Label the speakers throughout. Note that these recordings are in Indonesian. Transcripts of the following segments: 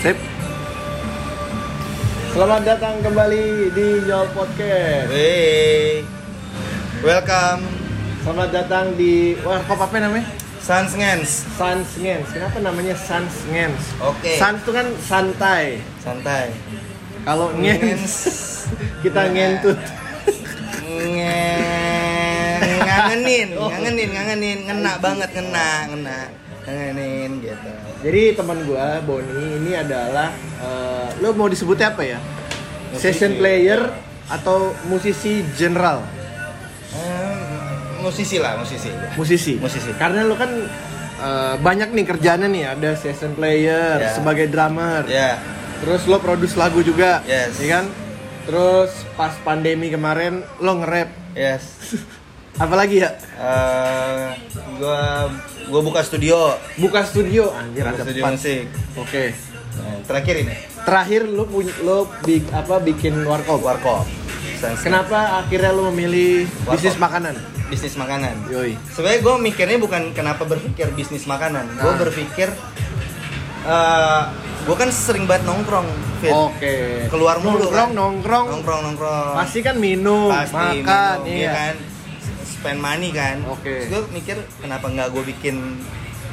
Speaker 1: Sip.
Speaker 2: Selamat datang kembali di Jol Podcast.
Speaker 1: Hey. Welcome
Speaker 2: Selamat datang di wah kok apa namanya?
Speaker 1: Sans Ngens.
Speaker 2: Sans Ngens. Kenapa namanya Sans Ngens?
Speaker 1: Oke.
Speaker 2: Sans itu kan santai.
Speaker 1: Santai.
Speaker 2: Kalau Ngens kita
Speaker 1: Iya.
Speaker 2: ngentut.
Speaker 1: Ngen- Ngangenin,
Speaker 2: Oh.
Speaker 1: ngangenin, ngangenin, ngena banget, ngena, ngena, ngangenin gitu.
Speaker 2: Jadi teman gua Boni ini adalah eh, lo mau disebutnya apa ya?
Speaker 1: Musisi.
Speaker 2: Session player atau musisi general?
Speaker 1: Eh, musisi lah, musisi.
Speaker 2: musisi
Speaker 1: Musisi.
Speaker 2: karena lu kan eh, banyak nih kerjaannya nih ada session player
Speaker 1: Ya.
Speaker 2: sebagai drummer
Speaker 1: Ya,
Speaker 2: terus lo produce lagu juga
Speaker 1: Yes.
Speaker 2: ya kan terus pas pandemi kemarin lo nge-rap
Speaker 1: yes.
Speaker 2: apalagi ya
Speaker 1: Eh, gua gua buka studio,
Speaker 2: buka studio anjir
Speaker 1: buka
Speaker 2: Iya, ada
Speaker 1: studio
Speaker 2: empat.
Speaker 1: musik.
Speaker 2: oke
Speaker 1: Nah, terakhir ini
Speaker 2: terakhir lo punya lo bi- apa bikin warkop
Speaker 1: warkop. Sans
Speaker 2: kenapa akhirnya lo memilih
Speaker 1: Warkop.
Speaker 2: bisnis makanan
Speaker 1: bisnis makanan.
Speaker 2: yoi
Speaker 1: sebenarnya gue mikirnya bukan kenapa berpikir bisnis makanan gue
Speaker 2: Nah.
Speaker 1: berpikir gue kan sering banget nongkrong Fit.
Speaker 2: oke
Speaker 1: keluar mulu
Speaker 2: nongkrong
Speaker 1: kan.
Speaker 2: nongkrong
Speaker 1: nongkrong nongkrong
Speaker 2: pasti kan minum
Speaker 1: Pasti
Speaker 2: makan
Speaker 1: minum,
Speaker 2: iya
Speaker 1: ya kan spend money kan
Speaker 2: Oke.
Speaker 1: gue mikir kenapa nggak gue bikin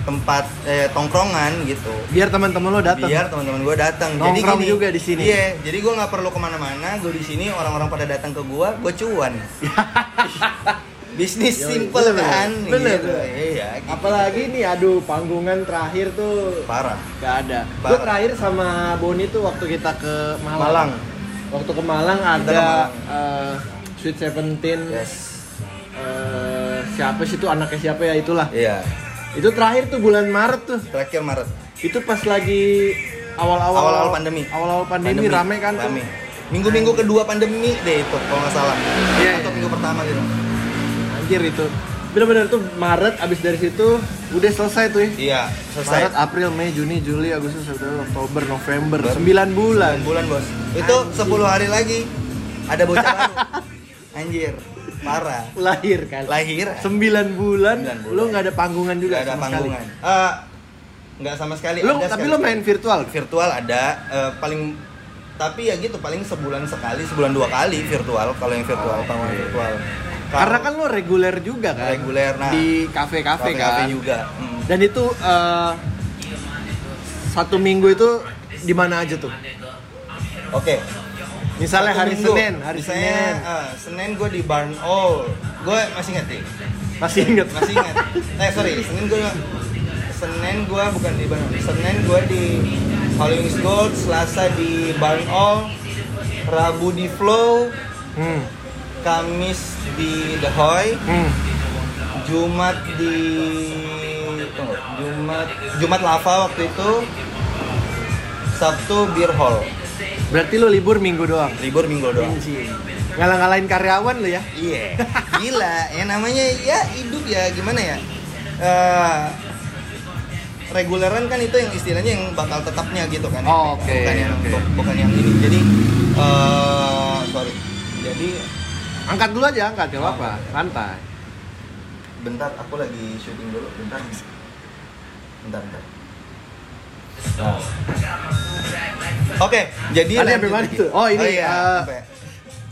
Speaker 1: tempat eh, tongkrongan gitu
Speaker 2: biar teman-teman lo datang
Speaker 1: biar teman-teman gue datang jadi
Speaker 2: Nongkrong
Speaker 1: gini
Speaker 2: juga di sini.
Speaker 1: iya jadi gue nggak perlu kemana-mana gue di sini orang-orang pada datang ke gue gue cuan bisnis
Speaker 2: Yoi,
Speaker 1: simple
Speaker 2: bener,
Speaker 1: kan
Speaker 2: bener.
Speaker 1: gitu. iya gitu.
Speaker 2: Apalagi nih, aduh panggungan terakhir tuh
Speaker 1: parah
Speaker 2: gak ada.
Speaker 1: Parah.
Speaker 2: Gue terakhir sama Boni tuh waktu kita ke Malang.
Speaker 1: Malang.
Speaker 2: Waktu ke Malang ada
Speaker 1: ke Malang.
Speaker 2: eh, Sweet Seventeen.
Speaker 1: yes
Speaker 2: eh, siapa sih tuh anaknya siapa ya itulah.
Speaker 1: iya
Speaker 2: Itu terakhir tuh bulan Maret tuh.
Speaker 1: terakhir Maret
Speaker 2: Itu pas lagi awal-awal
Speaker 1: Awal-awal pandemi.
Speaker 2: Awal-awal pandemi, rame kan tuh.
Speaker 1: rame minggu-minggu kedua pandemi deh itu kalau nggak salah
Speaker 2: Iya,
Speaker 1: atau
Speaker 2: iya.
Speaker 1: minggu pertama gitu
Speaker 2: Anjir itu. Bener-bener tuh Maret abis dari situ udah selesai tuh. ya.
Speaker 1: iya selesai
Speaker 2: Maret, April, Mei, Juni, Juli, Agustus, September, Oktober, November,
Speaker 1: Ber-
Speaker 2: 9 bulan.
Speaker 1: Sembilan bulan bos itu 10 hari lagi ada bocah baru anjir parah
Speaker 2: lahir kan
Speaker 1: lahir
Speaker 2: sembilan bulan,
Speaker 1: Sembilan bulan.
Speaker 2: lo nggak ada panggungan juga
Speaker 1: nggak ada
Speaker 2: sama
Speaker 1: panggungan
Speaker 2: sekali.
Speaker 1: Eh, nggak sama sekali
Speaker 2: lo
Speaker 1: ada
Speaker 2: tapi
Speaker 1: sekali.
Speaker 2: lo main virtual
Speaker 1: virtual ada eh, paling tapi ya gitu paling sebulan sekali sebulan dua kali virtual kalau yang virtual kalau yang virtual Kalau
Speaker 2: Oh, iya. karena kan lo reguler juga kan
Speaker 1: Reguler, nah.
Speaker 2: di kafe kafe
Speaker 1: kafe-kafe
Speaker 2: kan
Speaker 1: juga Hmm.
Speaker 2: dan itu eh, satu minggu itu di mana aja tuh
Speaker 1: oke
Speaker 2: misalnya
Speaker 1: Satu
Speaker 2: hari
Speaker 1: minggu.
Speaker 2: Senin hari
Speaker 1: Misalnya,
Speaker 2: Senin
Speaker 1: eh, Senin gue di Barn All gue masih inget nih
Speaker 2: masih inget
Speaker 1: masih ingat eh sorry Senin gue Senin gue bukan di Barn All Senin gue di Halloween's Gold Selasa di Barn All Rabu di Flow
Speaker 2: hmm.
Speaker 1: Kamis di The Hoy
Speaker 2: hmm.
Speaker 1: Jumat di tunggu, Jumat Jumat Lava waktu itu Sabtu Beer Hall
Speaker 2: berarti lo libur minggu doang
Speaker 1: libur minggu doang
Speaker 2: ngalah ngalahin karyawan lo ya
Speaker 1: iya gila ya namanya ya hidup ya gimana ya Eh, reguleran kan itu yang istilahnya yang bakal tetapnya gitu kan
Speaker 2: Oh, oke,
Speaker 1: bukan yang
Speaker 2: oke.
Speaker 1: bu- bukan yang ini jadi eh sorry jadi
Speaker 2: angkat dulu aja angkat gak apa santai
Speaker 1: bentar aku lagi syuting dulu bentar bentar bentar Nah. Oke, jadi
Speaker 2: Tadi sampai
Speaker 1: lanjut
Speaker 2: mana
Speaker 1: lagi.
Speaker 2: tuh? Oh, ini,
Speaker 1: iya,
Speaker 2: eh,
Speaker 1: sampai.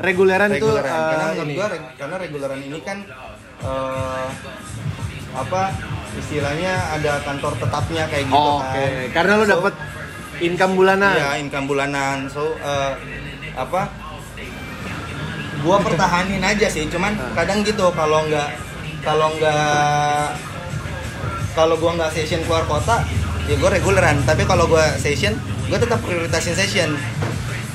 Speaker 2: reguleran,
Speaker 1: reguleran
Speaker 2: itu eh,
Speaker 1: karena menurut
Speaker 2: ini.
Speaker 1: gua gitu reg- karena reguleran ini kan eh, apa istilahnya ada kantor tetapnya kayak gitu
Speaker 2: Oh, Oke,
Speaker 1: kan
Speaker 2: karena lo
Speaker 1: So,
Speaker 2: dapet income bulanan.
Speaker 1: iya income bulanan so eh, apa gua pertahanin aja sih cuman
Speaker 2: Ah.
Speaker 1: kadang gitu kalau nggak kalau nggak kalau gua nggak session keluar kota ya gua reguleran tapi kalau gua session gua tetap prioritasin session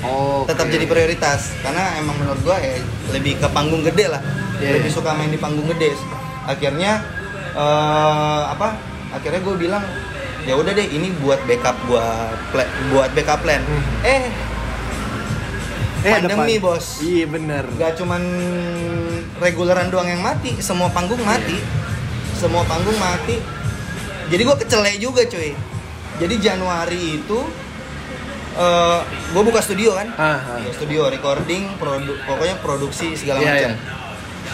Speaker 2: Oh.
Speaker 1: tetap jadi prioritas karena emang menurut gua ya lebih ke panggung gede lah
Speaker 2: Iya,
Speaker 1: lebih
Speaker 2: iya.
Speaker 1: suka main di panggung gede akhirnya eh, apa akhirnya gue bilang ya udah deh ini buat backup gua pla- buat backup plan
Speaker 2: Hmm.
Speaker 1: eh pandemi,
Speaker 2: Eh, pan-
Speaker 1: bos.
Speaker 2: Iya bener.
Speaker 1: nggak cuman reguleran doang yang mati semua
Speaker 2: Iya.
Speaker 1: panggung mati semua panggung mati jadi gua kecele juga cuy jadi Januari itu eh gue buka studio kan
Speaker 2: Ah, ah.
Speaker 1: Iya, studio recording, produ- pokoknya produksi segala
Speaker 2: Iya,
Speaker 1: macam.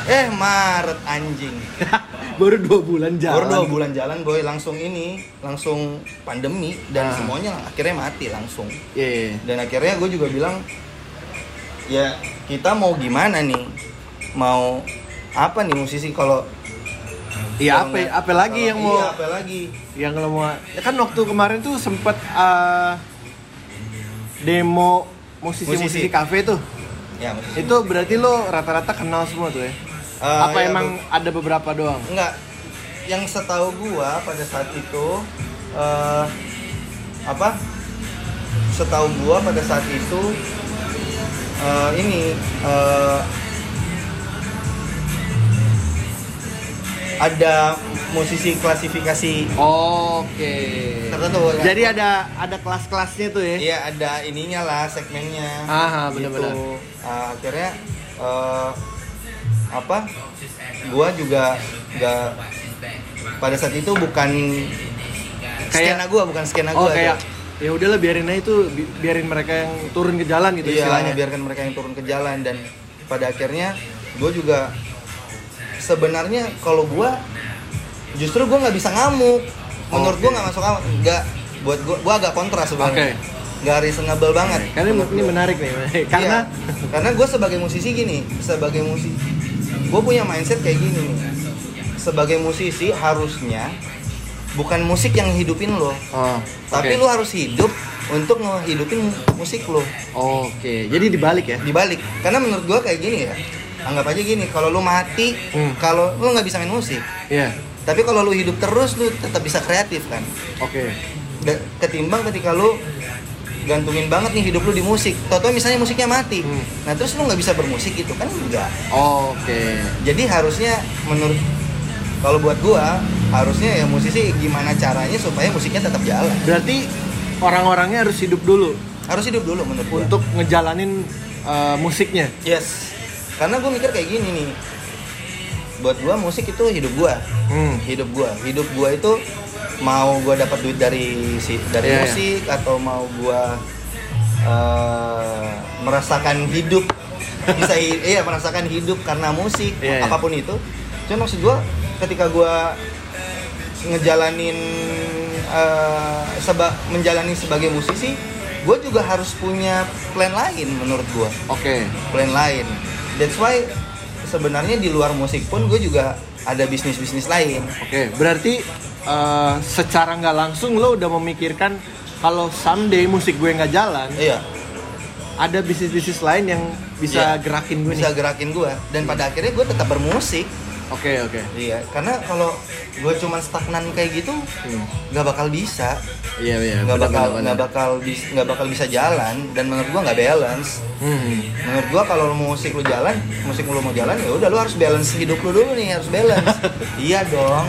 Speaker 1: Eh Maret anjing.
Speaker 2: baru dua bulan jalan.
Speaker 1: Baru dua bulan jalan boy langsung ini langsung pandemi dan
Speaker 2: Ah.
Speaker 1: semuanya akhirnya mati langsung
Speaker 2: Iya. iya.
Speaker 1: dan akhirnya gue juga bilang ya kita mau gimana nih mau apa nih musisi kalau
Speaker 2: Iya apa apa lagi
Speaker 1: kalau-
Speaker 2: yang mau
Speaker 1: iya, apa lagi
Speaker 2: yang lo mau ya kan waktu kemarin tuh sempet eh, demo musisi-musisi
Speaker 1: Musisi.
Speaker 2: kafe tuh.
Speaker 1: ya musisi.
Speaker 2: Itu berarti lo rata-rata kenal semua tuh ya?
Speaker 1: Eh,
Speaker 2: apa
Speaker 1: ya,
Speaker 2: emang ada beberapa doang?
Speaker 1: Enggak. Yang setahu gua pada saat itu eh apa? Setahu gua pada saat itu eh, ini eh, ada musisi klasifikasi
Speaker 2: Oke.
Speaker 1: tertentu. ya.
Speaker 2: Jadi ada ada kelas-kelasnya tuh ya?
Speaker 1: Iya ada ininya lah segmennya.
Speaker 2: Aha,
Speaker 1: Gitu.
Speaker 2: benar-benar.
Speaker 1: Ah, akhirnya eh, apa? Gua juga nggak pada saat itu bukan
Speaker 2: Kayak-
Speaker 1: skena gua, bukan skena
Speaker 2: Oh
Speaker 1: gua. gitu,
Speaker 2: kayak
Speaker 1: tuh.
Speaker 2: ya udahlah biarin aja itu bi- biarin mereka yang turun ke jalan gitu
Speaker 1: iya,
Speaker 2: istilahnya.
Speaker 1: biarkan mereka yang turun ke jalan dan pada akhirnya gua juga sebenarnya kalau gua justru gua nggak bisa ngamuk. Menurut gua
Speaker 2: Oke.
Speaker 1: nggak masuk akal, nggak buat gua gua agak kontra sebenarnya.
Speaker 2: Oke.
Speaker 1: Nggak reasonable banget.
Speaker 2: Karena ini-
Speaker 1: menurut
Speaker 2: ini
Speaker 1: gua.
Speaker 2: menarik nih, karena
Speaker 1: Iya. karena gue sebagai musisi gini sebagai musisi gue punya mindset kayak gini nih sebagai musisi harusnya bukan musik yang hidupin lo
Speaker 2: Oh,
Speaker 1: tapi
Speaker 2: oke.
Speaker 1: lo harus hidup untuk ngehidupin musik lo
Speaker 2: Oke, jadi dibalik ya?
Speaker 1: dibalik karena menurut gue kayak gini ya anggap aja gini kalau lo mati
Speaker 2: Hmm.
Speaker 1: kalau lo nggak bisa main musik
Speaker 2: Iya.
Speaker 1: tapi kalau lo hidup terus lo tetap bisa kreatif kan
Speaker 2: Oke.
Speaker 1: Da- ketimbang ketika lu gantungin banget nih hidup lu di musik. Toto misalnya musiknya mati.
Speaker 2: Hmm.
Speaker 1: Nah, terus lu nggak bisa bermusik gitu kan enggak.
Speaker 2: Oke.
Speaker 1: Jadi harusnya menurut kalau buat gua harusnya ya musisi gimana caranya supaya musiknya tetap jalan.
Speaker 2: Berarti orang-orangnya harus hidup dulu
Speaker 1: Harus hidup dulu menurut gua.
Speaker 2: untuk ngejalanin uh, musiknya.
Speaker 1: yes. Karena gua mikir kayak gini nih. Buat gua musik itu hidup gua.
Speaker 2: Hmm.
Speaker 1: hidup gua hidup gua itu mau gua dapat duit dari si dari
Speaker 2: Iya, iya.
Speaker 1: musik atau mau gua eh, merasakan hidup bisa hi- iya merasakan hidup karena musik
Speaker 2: Iya, iya.
Speaker 1: apapun itu cuma maksud gua ketika gua ngejalanin eh, seba menjalani sebagai musisi gua juga harus punya plan lain menurut gua
Speaker 2: Oke.
Speaker 1: plan lain. That's why sebenarnya di luar musik pun gue juga ada bisnis bisnis lain.
Speaker 2: Oke, berarti uh, secara nggak langsung lo udah memikirkan kalau someday musik gue nggak jalan,
Speaker 1: Iya,
Speaker 2: ada bisnis-bisnis lain yang bisa
Speaker 1: Iya.
Speaker 2: gerakin gue
Speaker 1: bisa
Speaker 2: nih.
Speaker 1: gerakin gue. Dan pada akhirnya gue tetap bermusik.
Speaker 2: Oke, oke.
Speaker 1: Iya, karena kalau gue cuman stagnan kayak gitu,
Speaker 2: Hmm.
Speaker 1: nggak bakal bisa,
Speaker 2: Iya, iya.
Speaker 1: nggak
Speaker 2: benar,
Speaker 1: bakal
Speaker 2: benar,
Speaker 1: nggak
Speaker 2: benar.
Speaker 1: bakal bis- nggak bakal bisa jalan. Dan menurut gue nggak balance.
Speaker 2: Hmm.
Speaker 1: Menurut gua kalau musik lu jalan, musik lu mau jalan ya udah lu harus balance hidup lu dulu nih, harus balance. iya dong.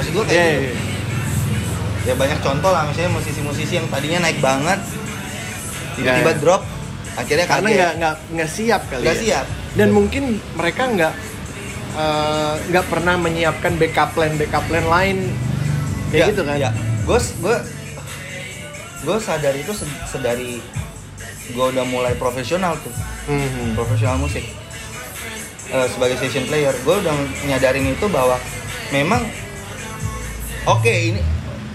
Speaker 1: Maksud gua kayak
Speaker 2: Iya,
Speaker 1: gitu.
Speaker 2: iya.
Speaker 1: ya banyak contoh lah misalnya musisi-musisi yang tadinya naik banget tiba-tiba
Speaker 2: Ya, ya.
Speaker 1: drop akhirnya
Speaker 2: Karena
Speaker 1: kaget.
Speaker 2: nggak nggak nggak siap kali.
Speaker 1: Nggak
Speaker 2: ya.
Speaker 1: siap.
Speaker 2: Dan mungkin mereka nggak uh, nggak pernah menyiapkan backup plan backup plan lain kayak
Speaker 1: Iya,
Speaker 2: gitu kan?
Speaker 1: gue gue gue sadar itu se- sedari gue udah mulai profesional tuh
Speaker 2: Mhm.
Speaker 1: profesional musik Eh, sebagai session player gue udah nyadarin itu bahwa memang oke ini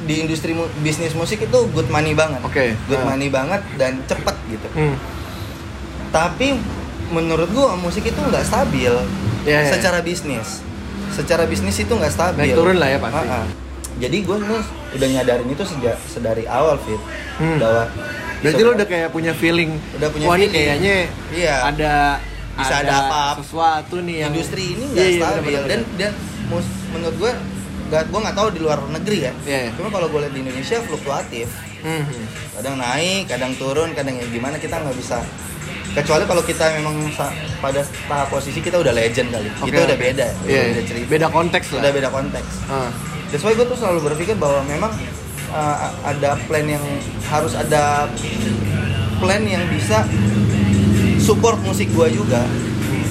Speaker 1: di industri mu- bisnis musik itu good money banget
Speaker 2: Oke.
Speaker 1: good
Speaker 2: Nah.
Speaker 1: money banget dan cepet gitu
Speaker 2: Hmm.
Speaker 1: tapi menurut gua musik itu nggak stabil
Speaker 2: Iya, iya.
Speaker 1: secara bisnis secara bisnis itu nggak stabil
Speaker 2: Naik turun lah ya, pasti.
Speaker 1: Ha-ha. jadi gua nih udah nyadarin itu sejak sedari awal fit
Speaker 2: Hmm.
Speaker 1: bahwa
Speaker 2: Berarti lo udah kayak punya feeling.
Speaker 1: Udah punya
Speaker 2: Wah, ini
Speaker 1: feeling.
Speaker 2: kayaknya
Speaker 1: Iya.
Speaker 2: ada
Speaker 1: Bisa ada apa-apa."
Speaker 2: sesuatu nih yang
Speaker 1: industri ini
Speaker 2: Iya,
Speaker 1: nggak
Speaker 2: iya,
Speaker 1: stabil
Speaker 2: benar-benar.
Speaker 1: dan dan mus- menurut gua nggak gua nggak tahu di luar negeri ya
Speaker 2: Iya, iya.
Speaker 1: cuma kalau gua lihat di Indonesia fluktuatif
Speaker 2: Mhm.
Speaker 1: kadang naik kadang turun kadang ya gimana kita nggak bisa kecuali kalau kita memang sa- pada tahap posisi kita udah legend kali
Speaker 2: Oke,
Speaker 1: itu udah
Speaker 2: oke.
Speaker 1: beda
Speaker 2: Iya,
Speaker 1: udah
Speaker 2: iya.
Speaker 1: cerita
Speaker 2: beda konteks lah.
Speaker 1: udah beda konteks
Speaker 2: Ah.
Speaker 1: That's why gue tuh selalu berpikir bahwa memang uh, ada plan yang harus ada plan yang bisa support musik gue juga.
Speaker 2: Hmm.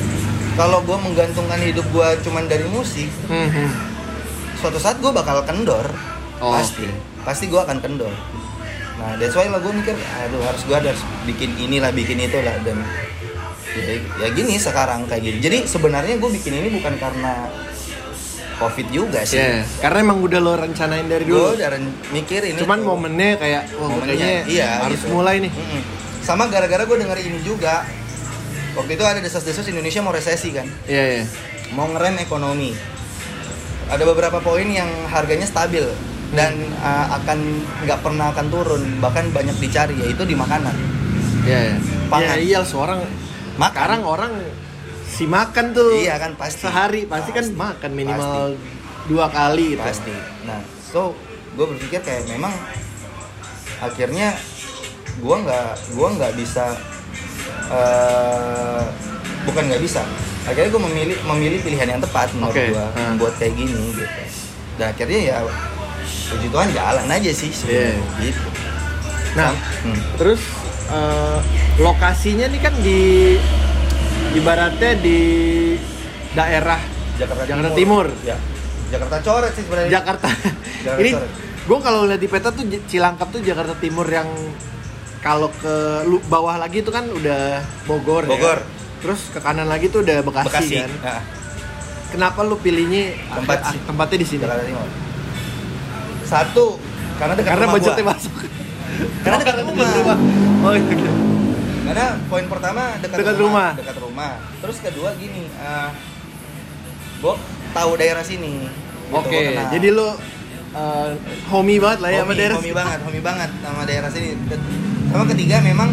Speaker 1: Kalau gue menggantungkan hidup gue cuman dari musik,
Speaker 2: Mhm.
Speaker 1: suatu saat gue bakal kendor,
Speaker 2: Oh,
Speaker 1: pasti,
Speaker 2: oke.
Speaker 1: pasti gue akan kendor. Nah, that's why lah gue mikir, aduh harus gue harus bikin inilah, bikin itulah dan ya, ya gini sekarang kayak gini. Jadi sebenarnya gue bikin ini bukan karena covid juga sih
Speaker 2: Iya, karena emang udah lo rencanain dari
Speaker 1: gue
Speaker 2: dulu.
Speaker 1: udah ren- mikir ini
Speaker 2: Cuman
Speaker 1: tuh.
Speaker 2: momennya kayak wah gue
Speaker 1: momennya
Speaker 2: kayaknya
Speaker 1: iya
Speaker 2: harus
Speaker 1: gitu.
Speaker 2: mulai nih.
Speaker 1: Mm-mm. sama gara-gara gue denger ini juga waktu itu ada desas-desus Indonesia mau resesi kan
Speaker 2: Iya, iya.
Speaker 1: mau ngerem ekonomi ada beberapa poin yang harganya stabil dan
Speaker 2: Hmm.
Speaker 1: uh, akan nggak pernah akan turun bahkan banyak dicari yaitu di makanan
Speaker 2: Iya, iya.
Speaker 1: Pangan.
Speaker 2: Iya, iya, seorang
Speaker 1: makanan
Speaker 2: sekarang orang si makan tuh.
Speaker 1: Iya kan, pasti.
Speaker 2: Sehari pasti kan makan minimal
Speaker 1: Pasti.
Speaker 2: dua kali gitu.
Speaker 1: pasti nah so gue berpikir kayak memang akhirnya gua nggak gua nggak bisa eh, bukan nggak bisa akhirnya gue memilih memilih pilihan yang tepat menurut
Speaker 2: Oke,
Speaker 1: gua
Speaker 2: ah.
Speaker 1: buat kayak gini gitu dan akhirnya ya puji Tuhan jalan aja sih sebenarnya
Speaker 2: Iya.
Speaker 1: gitu
Speaker 2: Nah,
Speaker 1: Hmm.
Speaker 2: terus eh, lokasinya nih kan di ibaratnya di daerah
Speaker 1: Jakarta,
Speaker 2: Jakarta Timur.
Speaker 1: Ya. Jakarta coret sih sebenarnya
Speaker 2: Jakarta.
Speaker 1: Jakarta
Speaker 2: Ini
Speaker 1: Coret.
Speaker 2: gue kalau lihat di peta tuh J- Cilangkap tuh Jakarta Timur yang kalau ke lu- bawah lagi itu kan udah Bogor. ya.
Speaker 1: Bogor.
Speaker 2: Terus ke kanan lagi tuh udah Bekasi,
Speaker 1: Bekasi
Speaker 2: kan.
Speaker 1: Nah,
Speaker 2: Kenapa lu pilihnya
Speaker 1: Tempat
Speaker 2: ah,
Speaker 1: sih.
Speaker 2: tempatnya di sini?
Speaker 1: Jakarta Timur satu karena dekat
Speaker 2: Karena
Speaker 1: rumah
Speaker 2: budgetnya
Speaker 1: gua.
Speaker 2: masuk.
Speaker 1: Karena dekat rumah. Gitu,
Speaker 2: Oh iya. iya.
Speaker 1: karena poin pertama dekat,
Speaker 2: Dekat rumah.
Speaker 1: dekat rumah terus kedua gini eh gua tahu daerah sini Gitu,
Speaker 2: Oke,
Speaker 1: gua kenal.
Speaker 2: jadi lu eh, homey banget lah ya sama
Speaker 1: Homi-
Speaker 2: daerah.
Speaker 1: homi banget homi banget sama daerah sini Det- sama ketiga memang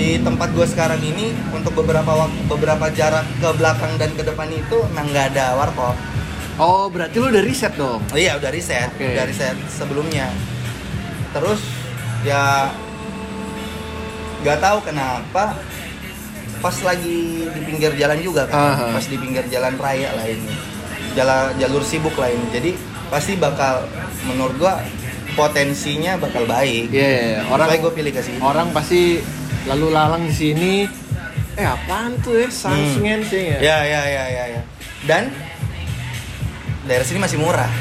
Speaker 1: di tempat gua sekarang ini untuk beberapa waktu beberapa jarak ke belakang dan ke depan itu nah nggak ada warkop
Speaker 2: Oh, berarti lu udah riset dong.
Speaker 1: Oh iya udah riset,
Speaker 2: Oke.
Speaker 1: udah riset sebelumnya. Terus ya nggak tahu kenapa pas lagi di pinggir jalan juga kan,
Speaker 2: Aha.
Speaker 1: pas di pinggir jalan raya lah ini, Jala- jalur sibuk lah ini. Jadi pasti bakal menurut gua potensinya bakal baik.
Speaker 2: Iya, iya, iya. orang
Speaker 1: Makanya gua pilih ke sini.
Speaker 2: orang pasti lalu lalang di sini. Eh, apaan tuh ya? Sangsungen sih ya.
Speaker 1: Ya ya ya ya ya. Dan daerah sini masih murah.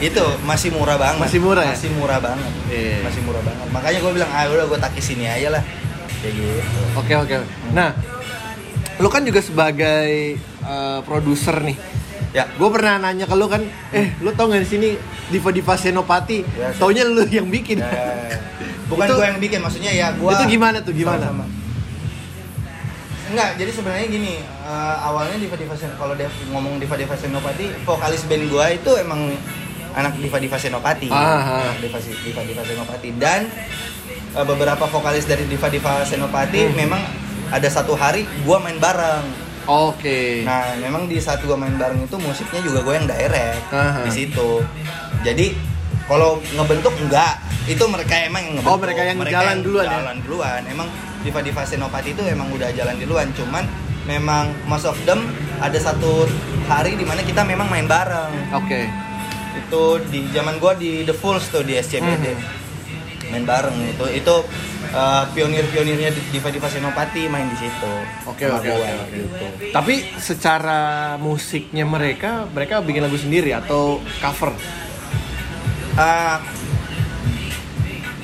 Speaker 1: itu masih murah banget.
Speaker 2: Masih murah ya?
Speaker 1: Masih murah banget.
Speaker 2: Iya.
Speaker 1: Masih murah banget. Makanya gue bilang ah udah gue takis sini aja lah. Kayak gitu.
Speaker 2: Oke, oke. Nah, lu kan juga sebagai eh, produser nih.
Speaker 1: Ya.
Speaker 2: Gue pernah nanya ke lu kan, eh lu tau gak di sini diva-diva Senopati?
Speaker 1: Ya, sih.
Speaker 2: Taunya lu yang bikin.
Speaker 1: Ya, ya, ya. Bukan
Speaker 2: Itu-
Speaker 1: gue yang bikin, maksudnya ya gue.
Speaker 2: Itu gimana tuh, gimana?
Speaker 1: Sama-sama. Enggak, jadi sebenarnya gini, eh, awalnya Diva Diva Sen- kalau dia ngomong Diva Diva Senopati, vokalis band gua itu emang anak Diva Diva Senopati.
Speaker 2: Ah, ah.
Speaker 1: Diva, Diva Diva Senopati dan eh, beberapa vokalis dari Diva Diva
Speaker 2: Hmm.
Speaker 1: Senopati memang ada satu hari gua main bareng.
Speaker 2: Oke.
Speaker 1: Nah, memang di saat gue main bareng itu musiknya juga gue yang direct
Speaker 2: Aha.
Speaker 1: di situ. Jadi kalau ngebentuk enggak, itu mereka emang yang ngebentuk.
Speaker 2: Oh, mereka yang jalan duluan ya?
Speaker 1: Jalan duluan. Emang Diva Diva Senopati itu emang udah jalan duluan, cuman memang most of them ada satu hari di mana kita memang main bareng.
Speaker 2: Oke.
Speaker 1: Itu di zaman gue di The Fools tuh di SCBD.
Speaker 2: Mhm.
Speaker 1: Main bareng itu itu uh, pionir-pionirnya Diva Diva Senopati main di situ.
Speaker 2: Oke,
Speaker 1: Sama
Speaker 2: oke,
Speaker 1: gua,
Speaker 2: oke, oke.
Speaker 1: gitu.
Speaker 2: Tapi secara musiknya mereka, mereka bikin lagu sendiri atau cover?
Speaker 1: Ah,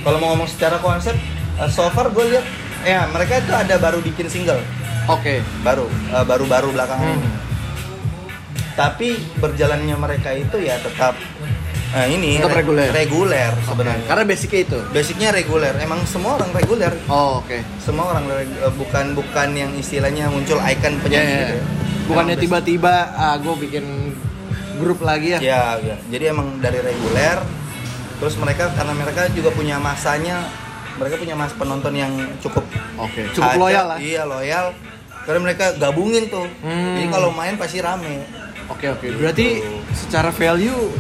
Speaker 1: kalau mau ngomong secara konsep eh, so far gue lihat ya mereka itu ada baru bikin single
Speaker 2: Oke.
Speaker 1: baru eh, baru-baru belakangan ini.
Speaker 2: Hmm.
Speaker 1: tapi berjalannya mereka itu ya tetap eh, ini
Speaker 2: Tetap
Speaker 1: re-
Speaker 2: reguler.
Speaker 1: reguler
Speaker 2: Sebenarnya.
Speaker 1: sebenarnya
Speaker 2: Karena basicnya itu.
Speaker 1: basicnya reguler emang semua orang reguler
Speaker 2: Oh, oke.
Speaker 1: semua orang reg- eh, bukan bukan yang istilahnya muncul icon
Speaker 2: Ya,
Speaker 1: penyanyi
Speaker 2: ya,
Speaker 1: gitu
Speaker 2: ya.
Speaker 1: ya.
Speaker 2: Bukannya
Speaker 1: Emang basic-
Speaker 2: tiba-tiba ah, gue bikin grup lagi ya?
Speaker 1: Ya, ya. jadi emang dari reguler, terus mereka karena mereka juga punya masanya, mereka punya mas penonton yang cukup
Speaker 2: Oke. Cukup
Speaker 1: ada.
Speaker 2: loyal lah.
Speaker 1: Iya loyal, karena mereka gabungin tuh.
Speaker 2: Hmm.
Speaker 1: Jadi kalau main pasti rame,
Speaker 2: Oke oke. Berarti secara value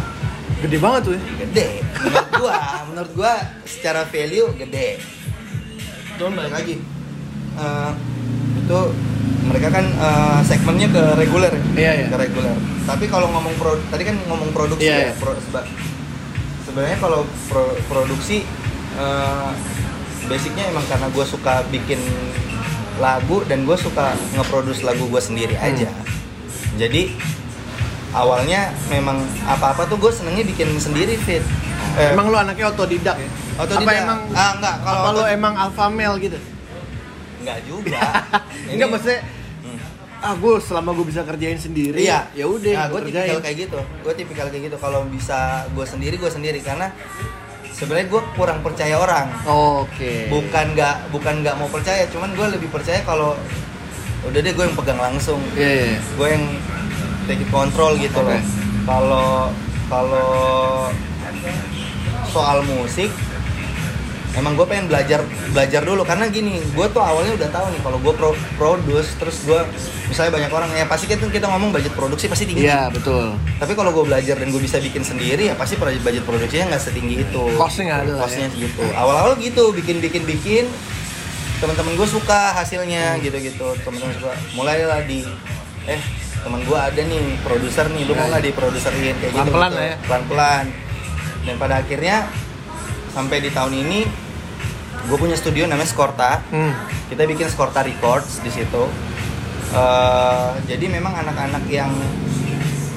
Speaker 2: gede banget tuh ya.
Speaker 1: gede. Menurut gua, menurut gua secara value gede. Cuman balik lagi, eh, itu mereka kan eh, segmennya ke reguler, ya?
Speaker 2: Iya, iya.
Speaker 1: ke reguler. Tapi kalau ngomong pro, tadi kan ngomong produksi
Speaker 2: Iya,
Speaker 1: ya.
Speaker 2: iya.
Speaker 1: pro- seba- sebenarnya kalau pro- produksi eh, basicnya emang karena gue suka bikin lagu dan gue suka ngeproduce lagu gue sendiri
Speaker 2: Hmm.
Speaker 1: aja. Jadi awalnya memang apa-apa tuh gue senengnya bikin sendiri fit. Eh,
Speaker 2: Emang lu anaknya otodidak ya?
Speaker 1: Otodidak.
Speaker 2: Apa emang
Speaker 1: Ah, enggak, kalau
Speaker 2: apa lu eh?
Speaker 1: otot-
Speaker 2: emang alpha male gitu?
Speaker 1: enggak juga. Ini-
Speaker 2: Enggak maksudnya
Speaker 1: Hmm.
Speaker 2: ah gue selama gue bisa kerjain sendiri
Speaker 1: Iya,
Speaker 2: ya udah
Speaker 1: Nah,
Speaker 2: gua
Speaker 1: gue
Speaker 2: kerjain.
Speaker 1: tipikal kayak gitu. Gue tipikal kayak gitu. Kalau bisa gue sendiri, gue sendiri karena sebenarnya gue kurang percaya orang.
Speaker 2: oke
Speaker 1: Bukan nggak bukan nggak mau percaya, cuman gue lebih percaya kalau udah deh gue yang pegang langsung.
Speaker 2: Iya, iya, iya.
Speaker 1: Gue yang take it control gitu
Speaker 2: Oke.
Speaker 1: loh. Kalau kalau soal musik Emang gue pengen belajar belajar dulu karena gini, gue tuh awalnya udah tahu nih kalau gue pro, produce terus gue misalnya banyak orang ya pasti kita kita ngomong budget produksi pasti tinggi.
Speaker 2: Iya, betul
Speaker 1: Tapi kalau gue belajar dan gue bisa bikin sendiri ya pasti budget budget produksinya nggak setinggi itu.
Speaker 2: Costnya nggak ada lah ya.
Speaker 1: Costnya gitu. Awal-awal gitu bikin bikin bikin teman-teman gue suka
Speaker 2: Hmm.
Speaker 1: hasilnya gitu-gitu. Teman-teman suka. Mulailah di eh teman gue ada nih produser nih, lu mau nggak diproduserin
Speaker 2: Iya,
Speaker 1: kayak gitu.
Speaker 2: Pelan-pelan
Speaker 1: gitu.
Speaker 2: lah ya.
Speaker 1: Pelan-pelan. Dan pada akhirnya sampai di tahun ini gue punya studio namanya Skorta
Speaker 2: hmm.
Speaker 1: kita bikin Skorta Records di situ. Eh, jadi memang anak-anak yang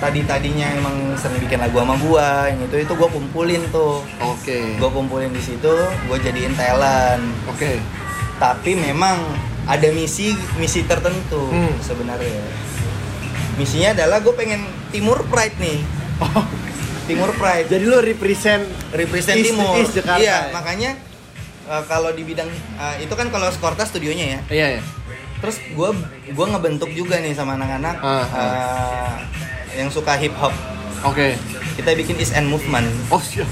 Speaker 1: tadi tadinya emang sering bikin lagu sama gua, yang itu itu gua kumpulin tuh.
Speaker 2: oke
Speaker 1: Gua kumpulin di situ, gua jadiin talent.
Speaker 2: oke
Speaker 1: Tapi memang ada misi misi tertentu
Speaker 2: Hmm.
Speaker 1: sebenarnya. Misinya adalah gue pengen Timur Pride nih. Timur Pride
Speaker 2: jadi lo represent
Speaker 1: represent
Speaker 2: East-
Speaker 1: Timur.
Speaker 2: East Jakarta
Speaker 1: iya,
Speaker 2: ya?
Speaker 1: makanya eh, kalau di bidang eh, itu kan kalau Skorta studionya ya
Speaker 2: iya iya
Speaker 1: terus gue gua ngebentuk juga nih sama anak-anak
Speaker 2: Ah, ah.
Speaker 1: eh, yang suka hip hop
Speaker 2: oke
Speaker 1: kita bikin is and movement
Speaker 2: oh siap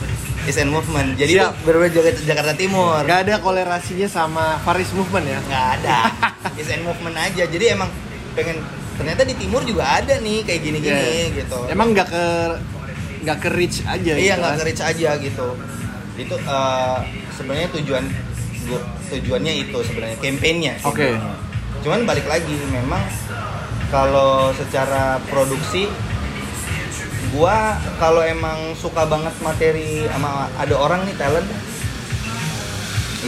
Speaker 1: is and movement jadi
Speaker 2: Siap.
Speaker 1: berbeda Jakarta, Jakarta Timur
Speaker 2: nggak ada kolerasinya sama Faris Movement ya
Speaker 1: nggak ada is and movement aja jadi emang pengen ternyata di timur juga ada nih kayak gini-gini
Speaker 2: Iya.
Speaker 1: gitu
Speaker 2: emang nggak ke nggak ke reach aja
Speaker 1: iya
Speaker 2: gitu
Speaker 1: nggak
Speaker 2: kan?
Speaker 1: ke reach aja gitu itu eh, sebenarnya tujuan gua, tujuannya itu sebenarnya kampanyenya
Speaker 2: Oke.
Speaker 1: cuman balik lagi memang kalau secara produksi gua kalau emang suka banget materi sama ada orang nih talent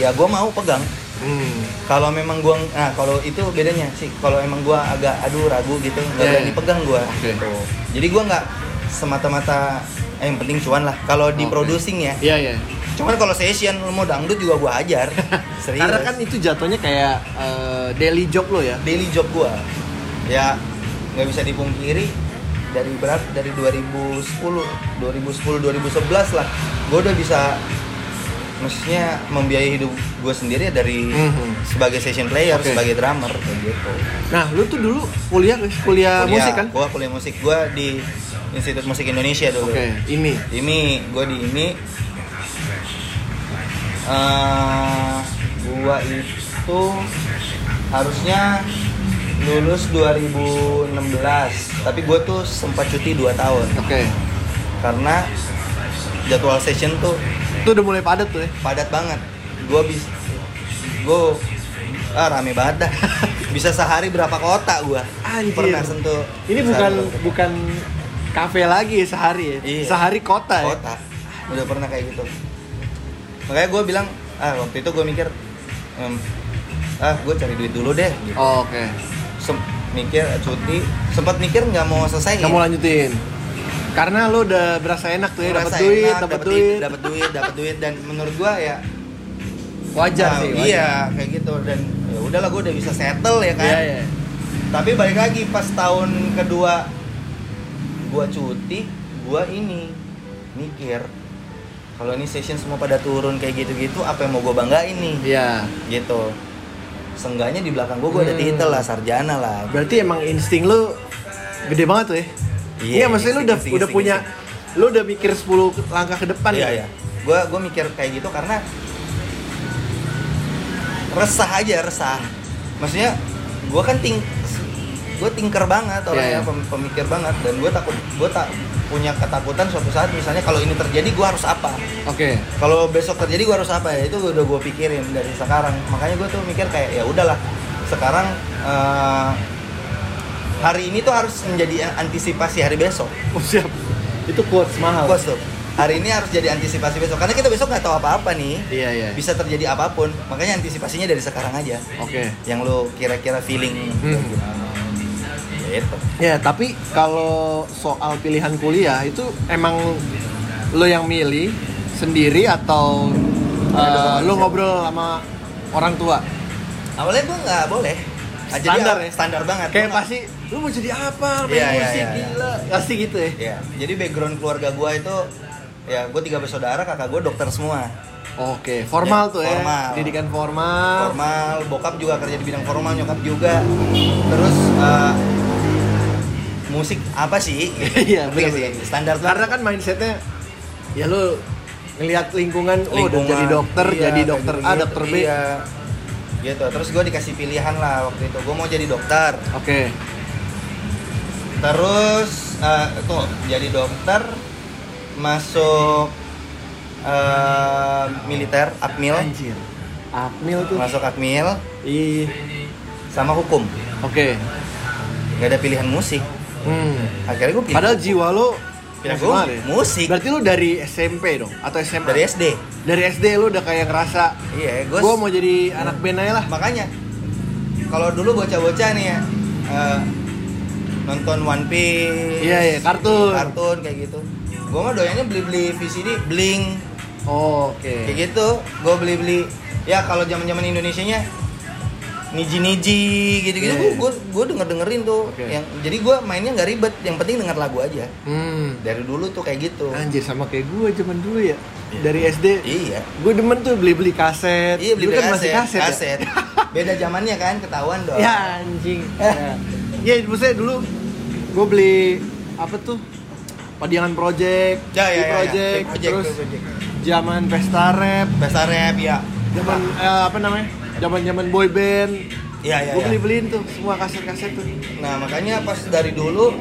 Speaker 1: ya gua mau pegang
Speaker 2: Hmm.
Speaker 1: kalau memang gua nah kalau itu bedanya sih kalau emang gua agak aduh ragu gitu nggak
Speaker 2: Yeah.
Speaker 1: berani pegang gua
Speaker 2: Iya, Oke.
Speaker 1: gitu. jadi gua nggak semata-mata eh, yang penting cuan lah kalau di
Speaker 2: Oke.
Speaker 1: producing ya
Speaker 2: Iya iya.
Speaker 1: cuman kalau session lu mau dangdut juga gua ajar serius
Speaker 2: Karena kan itu jatuhnya kayak eh, daily job lo ya.
Speaker 1: daily job gua ya nggak bisa dipungkiri dari berat dari 2010 2010 2011 lah gua udah bisa maksudnya membiayai hidup gua sendiri ya dari
Speaker 2: Mhm.
Speaker 1: sebagai session player
Speaker 2: Oke.
Speaker 1: sebagai drummer kayak gitu
Speaker 2: Nah, lu tuh dulu kuliah guys, kuliah,
Speaker 1: kuliah,
Speaker 2: musik kan?
Speaker 1: Gua kuliah musik. Gua di Institut Musik Indonesia dulu.
Speaker 2: Oke, ini.
Speaker 1: Ini gua di ini eh gua itu harusnya lulus 2016, tapi gua tuh sempat cuti 2 tahun
Speaker 2: Oke.
Speaker 1: karena jadwal session tuh
Speaker 2: Itu udah mulai padat tuh ya.
Speaker 1: padat banget. Gua bis gua ah, rame banget dah. Bisa sehari berapa kota gua?
Speaker 2: Anjir.
Speaker 1: Pernah sentuh.
Speaker 2: Ini bukan
Speaker 1: sehari berapa kota.
Speaker 2: bukan kafe lagi ya sehari ya.
Speaker 1: Iya.
Speaker 2: Sehari kota ya.
Speaker 1: kota udah pernah kayak gitu makanya gue bilang ah waktu itu gue mikir em, ah gue cari duit dulu deh gitu.
Speaker 2: Oh, Oke.
Speaker 1: Sem- mikir cuti sempat mikir nggak mau selesai ya.
Speaker 2: Kamu lanjutin. Karena lu udah berasa enak tuh ya, dapat duit, dapat duit.
Speaker 1: dapat duit dapat duit dan menurut gue ya
Speaker 2: Wajar
Speaker 1: ah,
Speaker 2: sih.
Speaker 1: iya kayak gitu dan ya udahlah gue udah bisa settle
Speaker 2: wajar.
Speaker 1: ya kan
Speaker 2: Iya, iya.
Speaker 1: tapi balik lagi pas tahun kedua gua cuti gua ini mikir kalau ini session semua pada turun kayak gitu-gitu apa yang mau gua banggain nih
Speaker 2: Iya.
Speaker 1: gitu Seenggaknya di belakang gua gua ada
Speaker 2: Hmm.
Speaker 1: titel lah sarjana lah
Speaker 2: Berarti emang insting lu gede banget tuh ya?
Speaker 1: Iya,
Speaker 2: Iya, maksudnya lu
Speaker 1: insting,
Speaker 2: udah
Speaker 1: insting,
Speaker 2: udah
Speaker 1: insting,
Speaker 2: punya lu udah mikir 10 langkah ke depan
Speaker 1: iya
Speaker 2: ya?
Speaker 1: iya gua gua mikir kayak gitu karena resah aja resah maksudnya gua kan ting gue tinker banget orangnya
Speaker 2: Iya, iya.
Speaker 1: pem- pemikir banget dan gue takut gue tak punya ketakutan suatu saat misalnya kalau ini terjadi gua harus apa
Speaker 2: Oke.
Speaker 1: kalau besok terjadi gue harus apa ya itu udah gue pikirin dari sekarang makanya gue tuh mikir kayak ya udahlah sekarang eh, hari ini tuh harus menjadi antisipasi hari besok
Speaker 2: Oh, siap. Itu quotes mahal.
Speaker 1: bos tuh hari ini harus jadi antisipasi besok karena kita besok nggak tahu apa-apa nih
Speaker 2: Iya, iya.
Speaker 1: bisa terjadi apapun makanya antisipasinya dari sekarang aja
Speaker 2: Oke.
Speaker 1: yang lo kira-kira feeling
Speaker 2: Hmm.
Speaker 1: gitu
Speaker 2: Ya, tapi kalau soal pilihan kuliah itu emang lo yang milih sendiri atau uh, lo ngobrol sama orang tua?
Speaker 1: awalnya gue nggak boleh Ah, jadi
Speaker 2: Standar
Speaker 1: aw-
Speaker 2: ya?
Speaker 1: standar banget
Speaker 2: Kayak
Speaker 1: Gua nggak-
Speaker 2: pasti lu mau jadi apa main
Speaker 1: Iya, iya,
Speaker 2: musik
Speaker 1: iya, iya.
Speaker 2: gila pasti gitu ya
Speaker 1: ya jadi background keluarga gua itu ya gue tiga bersaudara kakak gue dokter semua
Speaker 2: oke formal
Speaker 1: Ya,
Speaker 2: tuh ya
Speaker 1: formal.
Speaker 2: pendidikan formal,
Speaker 1: formal bokap juga kerja di bidang formal nyokap juga terus eh, musik apa sih
Speaker 2: iya
Speaker 1: Ngerti
Speaker 2: benar
Speaker 1: gak sih?
Speaker 2: benar.
Speaker 1: standar
Speaker 2: karena
Speaker 1: banget.
Speaker 2: kan mindsetnya ya lu ngelihat lingkungan, oh udah
Speaker 1: Lingkungan,
Speaker 2: jadi dokter
Speaker 1: iya,
Speaker 2: jadi
Speaker 1: kayak
Speaker 2: dokter A
Speaker 1: gitu-gitu,
Speaker 2: dokter B
Speaker 1: iya. gitu terus gue dikasih pilihan lah waktu itu gue mau jadi dokter
Speaker 2: oke
Speaker 1: terus eh, tuh jadi dokter masuk eh, militer admil
Speaker 2: anjir Apmil tuh
Speaker 1: masuk admil
Speaker 2: Ih,
Speaker 1: sama hukum
Speaker 2: oke
Speaker 1: nggak ada pilihan musik
Speaker 2: hmm.
Speaker 1: akhirnya gue pilih
Speaker 2: Padahal jiwa lo musik
Speaker 1: Pilihan Iya. gua
Speaker 2: banget ya?
Speaker 1: musik.
Speaker 2: Berarti lo dari SMP dong atau SMA?
Speaker 1: dari SD
Speaker 2: Dari SD lo udah kayak ngerasa
Speaker 1: iya gue
Speaker 2: gue mau jadi anak band aja lah.
Speaker 1: makanya kalau dulu bocah-bocah nih ya eh, nonton One Piece
Speaker 2: Iya iya kartun.
Speaker 1: kartun kayak gitu gue mah doyannya beli-beli VCD bling
Speaker 2: Oh, Oke.
Speaker 1: kayak gitu gue beli beli ya kalau zaman zaman Indonesia nya niji niji gitu gitu
Speaker 2: Iya.
Speaker 1: gue gue denger dengerin tuh
Speaker 2: Oke.
Speaker 1: yang jadi gue mainnya nggak ribet yang penting denger lagu aja
Speaker 2: Hmm.
Speaker 1: dari dulu tuh kayak gitu
Speaker 2: Anjir sama kayak gue zaman dulu ya. Dari SD.
Speaker 1: iya
Speaker 2: Gue demen tuh beli-beli kaset.
Speaker 1: iya beli
Speaker 2: Dulu kan masih
Speaker 1: kaset,
Speaker 2: kaset.
Speaker 1: kaset. beda zamannya kan ketahuan
Speaker 2: Ya,
Speaker 1: dong
Speaker 2: ya anjing. Ya. Iya, maksudnya dulu gue beli apa tuh? Padiangan Project,
Speaker 1: ya ya
Speaker 2: Di
Speaker 1: ya, ya,
Speaker 2: Project,
Speaker 1: project,
Speaker 2: terus
Speaker 1: project.
Speaker 2: zaman Pesta Rap,
Speaker 1: Pesta rap ya
Speaker 2: zaman eh, apa namanya? Zaman-zaman boy band.
Speaker 1: ya ya,
Speaker 2: gue
Speaker 1: ya.
Speaker 2: beli-beliin tuh semua kaset-kaset tuh.
Speaker 1: nah makanya pas dari dulu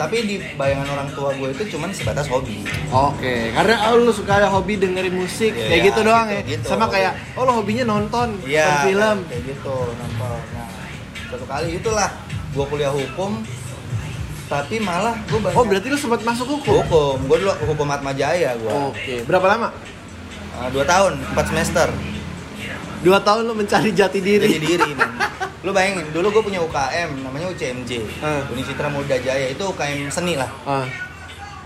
Speaker 1: tapi di bayangan orang tua gue itu cuman sebatas hobi
Speaker 2: Oke, karena oh, lu suka ada hobi dengerin musik
Speaker 1: Iya,
Speaker 2: kayak
Speaker 1: iya,
Speaker 2: gitu doang
Speaker 1: gitu,
Speaker 2: ya.
Speaker 1: gitu.
Speaker 2: Sama kayak oh lo hobinya nonton, nonton
Speaker 1: Iya,
Speaker 2: film.
Speaker 1: kayak gitu nonton. Nah, satu kali itulah gue kuliah hukum, tapi malah gue banyak
Speaker 2: Oh, berarti lu sempat masuk hukum.
Speaker 1: hukum. Gue dulu hukum Atma Jaya gue.
Speaker 2: Oke, berapa lama?
Speaker 1: dua tahun, empat semester.
Speaker 2: Dua tahun lu mencari jati diri.
Speaker 1: Jadi diri. men. Lu bayangin, dulu gue punya UKM, namanya UCMJ,
Speaker 2: Ah.
Speaker 1: Unicitra Muda Jaya. Itu UKM seni lah.
Speaker 2: Ah,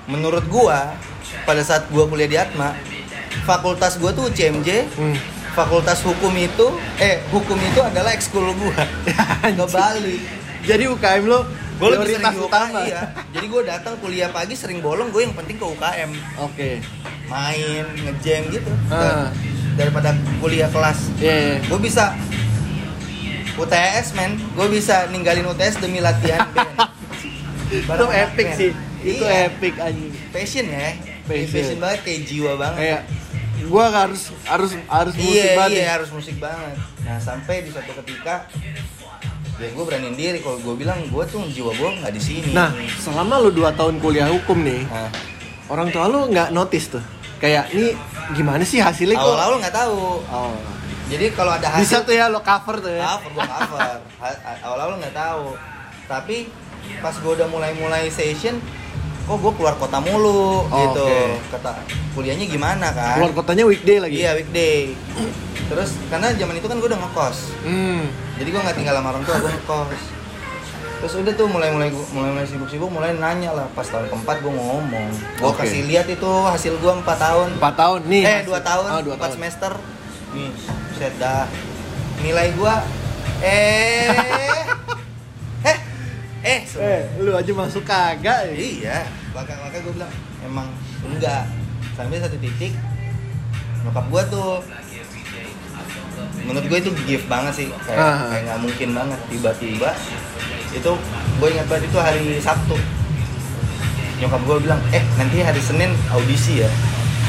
Speaker 1: Menurut gue, pada saat gue kuliah di Atma, fakultas gue tuh UCMJ,
Speaker 2: hmm.
Speaker 1: fakultas hukum itu, eh hukum itu adalah ekskul gue. Kebalik.
Speaker 2: Jadi UKM lu
Speaker 1: gue lebih
Speaker 2: prioritas
Speaker 1: sering di UKM
Speaker 2: utama.
Speaker 1: iya. jadi gue datang kuliah pagi sering bolong gue yang penting ke UKM
Speaker 2: Oke.
Speaker 1: main ngejam gitu
Speaker 2: Ah.
Speaker 1: Dar- daripada kuliah kelas
Speaker 2: Iya. iya.
Speaker 1: gue bisa UTS men gue bisa ninggalin UTS demi latihan band
Speaker 2: Itu
Speaker 1: Barang
Speaker 2: epic
Speaker 1: anak band.
Speaker 2: sih. Itu
Speaker 1: Iya.
Speaker 2: epic anjing.
Speaker 1: passion ya
Speaker 2: Passion.
Speaker 1: passion, banget kayak jiwa banget
Speaker 2: Kayak gua harus harus harus musik
Speaker 1: iya
Speaker 2: banget.
Speaker 1: iya
Speaker 2: nih.
Speaker 1: harus musik banget nah sampai di suatu ketika ya gue beraniin diri kalau gue bilang gue tuh jiwa gue nggak di sini
Speaker 2: Nah, selama lu dua tahun kuliah hukum nih,
Speaker 1: Nah,
Speaker 2: orang tua lu nggak notice tuh kayak ini gimana sih hasilnya kok
Speaker 1: awal-awal nggak tahu
Speaker 2: Oh.
Speaker 1: jadi kalau ada hasil
Speaker 2: bisa tuh ya lo cover tuh ya
Speaker 1: cover gue cover Ha- ha- awal-awal nggak tahu tapi pas gue udah mulai-mulai session kok gue keluar kota mulu
Speaker 2: Oh,
Speaker 1: gitu
Speaker 2: oke.
Speaker 1: kata kuliahnya gimana kan
Speaker 2: keluar kotanya weekday lagi
Speaker 1: iya weekday terus karena zaman itu kan gue udah ngekos
Speaker 2: hmm.
Speaker 1: jadi gue nggak tinggal sama orang tua gue ngekos terus udah tuh mulai-mulai mulai-mulai sibuk-sibuk mulai nanya lah pas tahun keempat gue ngomong gue
Speaker 2: Oke.
Speaker 1: kasih lihat itu hasil gue empat tahun
Speaker 2: 4 tahun nih
Speaker 1: eh 2 tahun,
Speaker 2: oh,
Speaker 1: 4
Speaker 2: dua tahun.
Speaker 1: semester. Nih, set dah. Nilai gua eh eh eh semua.
Speaker 2: eh lu aja masuk kagak ya?
Speaker 1: Iya, maka maka gua bilang emang enggak. Sampai satu titik nyokap gua tuh menurut gue itu gift banget sih kayak
Speaker 2: Ah.
Speaker 1: kayak nggak mungkin banget tiba-tiba itu gue ingat banget itu hari Sabtu nyokap gue bilang eh nanti hari Senin audisi ya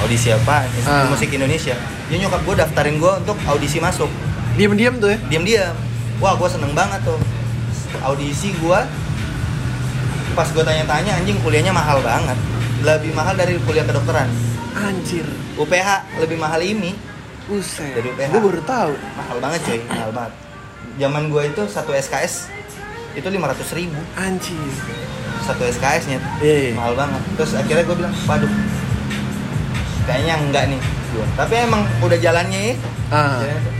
Speaker 1: audisi apa
Speaker 2: Ah.
Speaker 1: musik Indonesia ya nyokap gue daftarin gue untuk audisi masuk
Speaker 2: diem-diem tuh ya
Speaker 1: diam-diam wah gue seneng banget tuh audisi gue pas gue tanya-tanya anjing kuliahnya mahal banget lebih mahal dari kuliah kedokteran
Speaker 2: anjir
Speaker 1: UPH lebih mahal ini
Speaker 2: Buset,
Speaker 1: Dari UPH.
Speaker 2: gue baru tahu
Speaker 1: mahal banget cuy mahal banget zaman gue itu satu SKS itu 500 ribu
Speaker 2: anjir
Speaker 1: satu SKS nya
Speaker 2: Iya.
Speaker 1: mahal banget terus akhirnya gue bilang waduh kayaknya enggak nih gua. tapi emang udah jalannya ya
Speaker 2: ah.
Speaker 1: Jalannya tuh.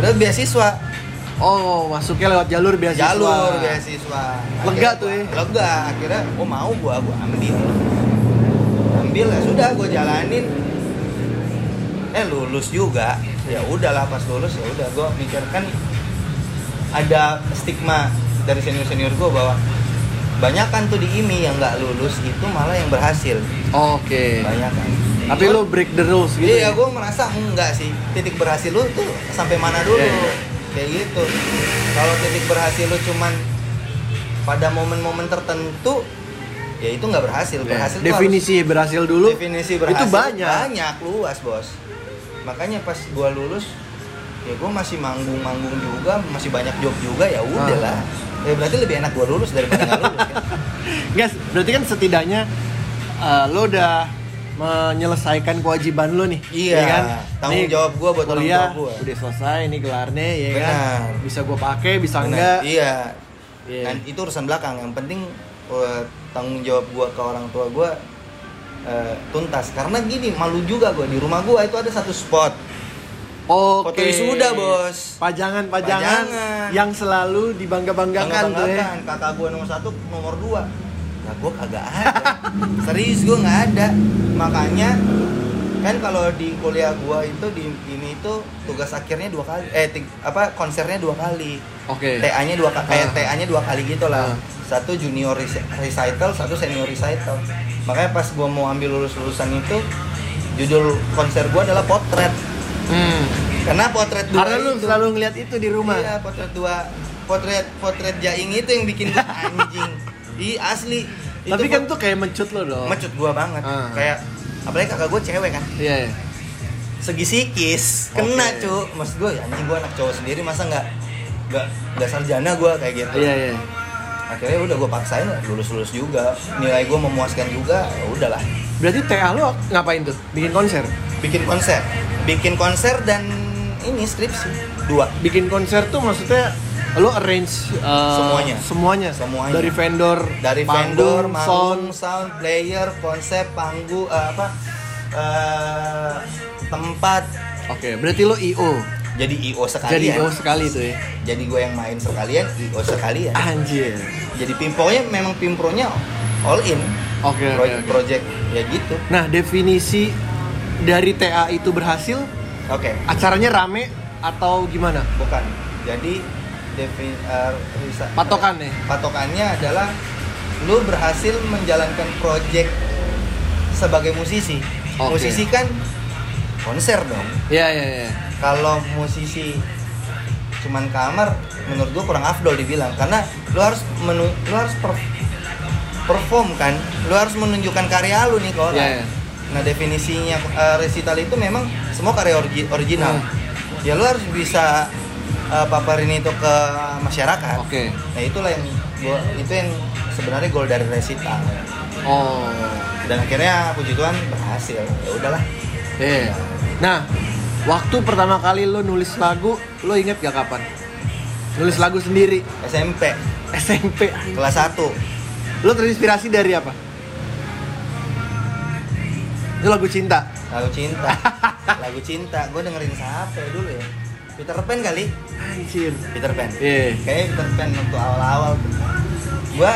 Speaker 1: udah beasiswa
Speaker 2: oh masuknya lewat jalur biasa
Speaker 1: jalur beasiswa
Speaker 2: Lega
Speaker 1: Akhirnya
Speaker 2: tuh ya.
Speaker 1: gua- lega akhirnya oh mau gua gua ambil ambil ya sudah gua jalanin eh lulus juga ya udahlah pas lulus ya udah gua mikir kan ada stigma dari senior senior gue bahwa banyak kan tuh di IMI yang nggak lulus itu malah yang berhasil
Speaker 2: Oke.
Speaker 1: banyak kan
Speaker 2: Tapi lo break the rules gitu. ya?
Speaker 1: iya gue merasa enggak sih titik berhasil lu tuh sampai mana dulu
Speaker 2: Iya, iya.
Speaker 1: kayak gitu kalau titik berhasil lu cuman pada momen-momen tertentu ya itu nggak berhasil
Speaker 2: Iya.
Speaker 1: berhasil tuh harus-
Speaker 2: Definisi berhasil dulu.
Speaker 1: definisi berhasil
Speaker 2: Itu banyak.
Speaker 1: banyak luas bos makanya pas gua lulus ya gua masih manggung-manggung juga masih banyak job juga ya
Speaker 2: Ah.
Speaker 1: udah lah ya berarti lebih enak gua lulus daripada nggak lulus kan?
Speaker 2: Guys, berarti kan setidaknya eh, lo udah menyelesaikan kewajiban lo nih.
Speaker 1: Iya,
Speaker 2: ya kan?
Speaker 1: tanggung
Speaker 2: Nih,
Speaker 1: jawab gua buat orang
Speaker 2: kuliah
Speaker 1: tua gua.
Speaker 2: Udah selesai nih gelarnya ya kan.
Speaker 1: Benar.
Speaker 2: Bisa gua pakai, bisa
Speaker 1: Nah,
Speaker 2: enggak.
Speaker 1: iya
Speaker 2: Iya.
Speaker 1: dan itu urusan belakang yang penting eh, tanggung jawab gua ke orang tua gua eh, tuntas karena gini malu juga gua di rumah gua itu ada satu spot
Speaker 2: Oke.
Speaker 1: Foto wisuda, Bos.
Speaker 2: Pajangan-pajangan
Speaker 1: Pajangan.
Speaker 2: yang selalu dibangga-banggakan tuh ya.
Speaker 1: Bangga-banggakan. kakak gue nomor satu nomor dua nah gue kagak ada serius gue nggak ada makanya kan kalau di kuliah gue itu di ini itu tugas akhirnya dua kali eh ti- apa konsernya dua kali
Speaker 2: Oke.
Speaker 1: TA nya dua kali kayak
Speaker 2: Ah.
Speaker 1: TA nya dua kali gitu
Speaker 2: Ah.
Speaker 1: lah satu junior rec- recital satu senior recital makanya pas gue mau ambil lulus lulusan itu judul konser gue adalah potret
Speaker 2: Hmm.
Speaker 1: karena potret dua
Speaker 2: Karena lu
Speaker 1: itu-
Speaker 2: selalu ngeliat itu di rumah.
Speaker 1: Iya, potret dua, potret potret jaing itu yang bikin gua anjing. Ih, asli. Itu
Speaker 2: Tapi kan
Speaker 1: pot-
Speaker 2: tuh kayak mencut lo dong.
Speaker 1: mecut gua banget.
Speaker 2: Ah.
Speaker 1: Kayak apalagi kakak gua cewek kan.
Speaker 2: Iya. iya.
Speaker 1: Segi psikis kena,
Speaker 2: Oke.
Speaker 1: cu. Maksud gua ya, anjing gua anak cowok sendiri masa nggak nggak nggak sarjana gua kayak gitu.
Speaker 2: Iya iya.
Speaker 1: Akhirnya udah gua paksain lulus-lulus juga. Nilai gua memuaskan juga, ya udahlah.
Speaker 2: Berarti TA lo ngapain tuh? Bikin konser?
Speaker 1: Bikin konser. Bikin konser dan ini skripsi dua
Speaker 2: Bikin konser tuh maksudnya lo arrange uh,
Speaker 1: Semuanya.
Speaker 2: semuanya
Speaker 1: Semuanya.
Speaker 2: dari vendor
Speaker 1: dari vendor,
Speaker 2: panggung,
Speaker 1: manggung, sound, player, konsep, panggung, eh, apa eh, tempat.
Speaker 2: oke berarti lo IO
Speaker 1: Jadi IO sekalian.
Speaker 2: jadi IO sekali tuh ya
Speaker 1: Jadi gue yang main sekalian, IO sekalian.
Speaker 2: anjir
Speaker 1: Jadi pimpronya memang pimpronya all in.
Speaker 2: oke oke,
Speaker 1: Project,
Speaker 2: oke.
Speaker 1: project ya gitu.
Speaker 2: nah definisi dari TA itu berhasil
Speaker 1: Oke,
Speaker 2: acaranya rame atau gimana
Speaker 1: bukan. Jadi defin, eh, risa-
Speaker 2: patokan ya
Speaker 1: patokannya adalah lu berhasil menjalankan project sebagai musisi.
Speaker 2: Oke.
Speaker 1: Musisi kan konser dong.
Speaker 2: Iya, iya, iya.
Speaker 1: kalau musisi cuman kamar menurut gua kurang afdol dibilang karena lu harus menu lu harus per- perform kan lu harus menunjukkan karya lu nih ke orang
Speaker 2: Iya, iya.
Speaker 1: nah definisinya eh, resital itu memang semua karya orgi- original
Speaker 2: Hmm.
Speaker 1: ya lu harus bisa eh, paparin itu ke masyarakat
Speaker 2: oke
Speaker 1: nah itulah yang gua itu yang sebenarnya goal dari resital
Speaker 2: oh
Speaker 1: dan akhirnya puji Tuhan berhasil ya udahlah
Speaker 2: iya nah waktu pertama kali lo nulis lagu lo inget gak kapan nulis lagu sendiri
Speaker 1: SMP
Speaker 2: SMP
Speaker 1: kelas 1
Speaker 2: Lo terinspirasi dari apa? Itu lagu cinta.
Speaker 1: lagu cinta lagu cinta gue dengerin siapa ya dulu ya Peter Pan kali
Speaker 2: Anjir.
Speaker 1: Peter Pan
Speaker 2: Iya.
Speaker 1: kayaknya Peter Pan waktu awal-awal gue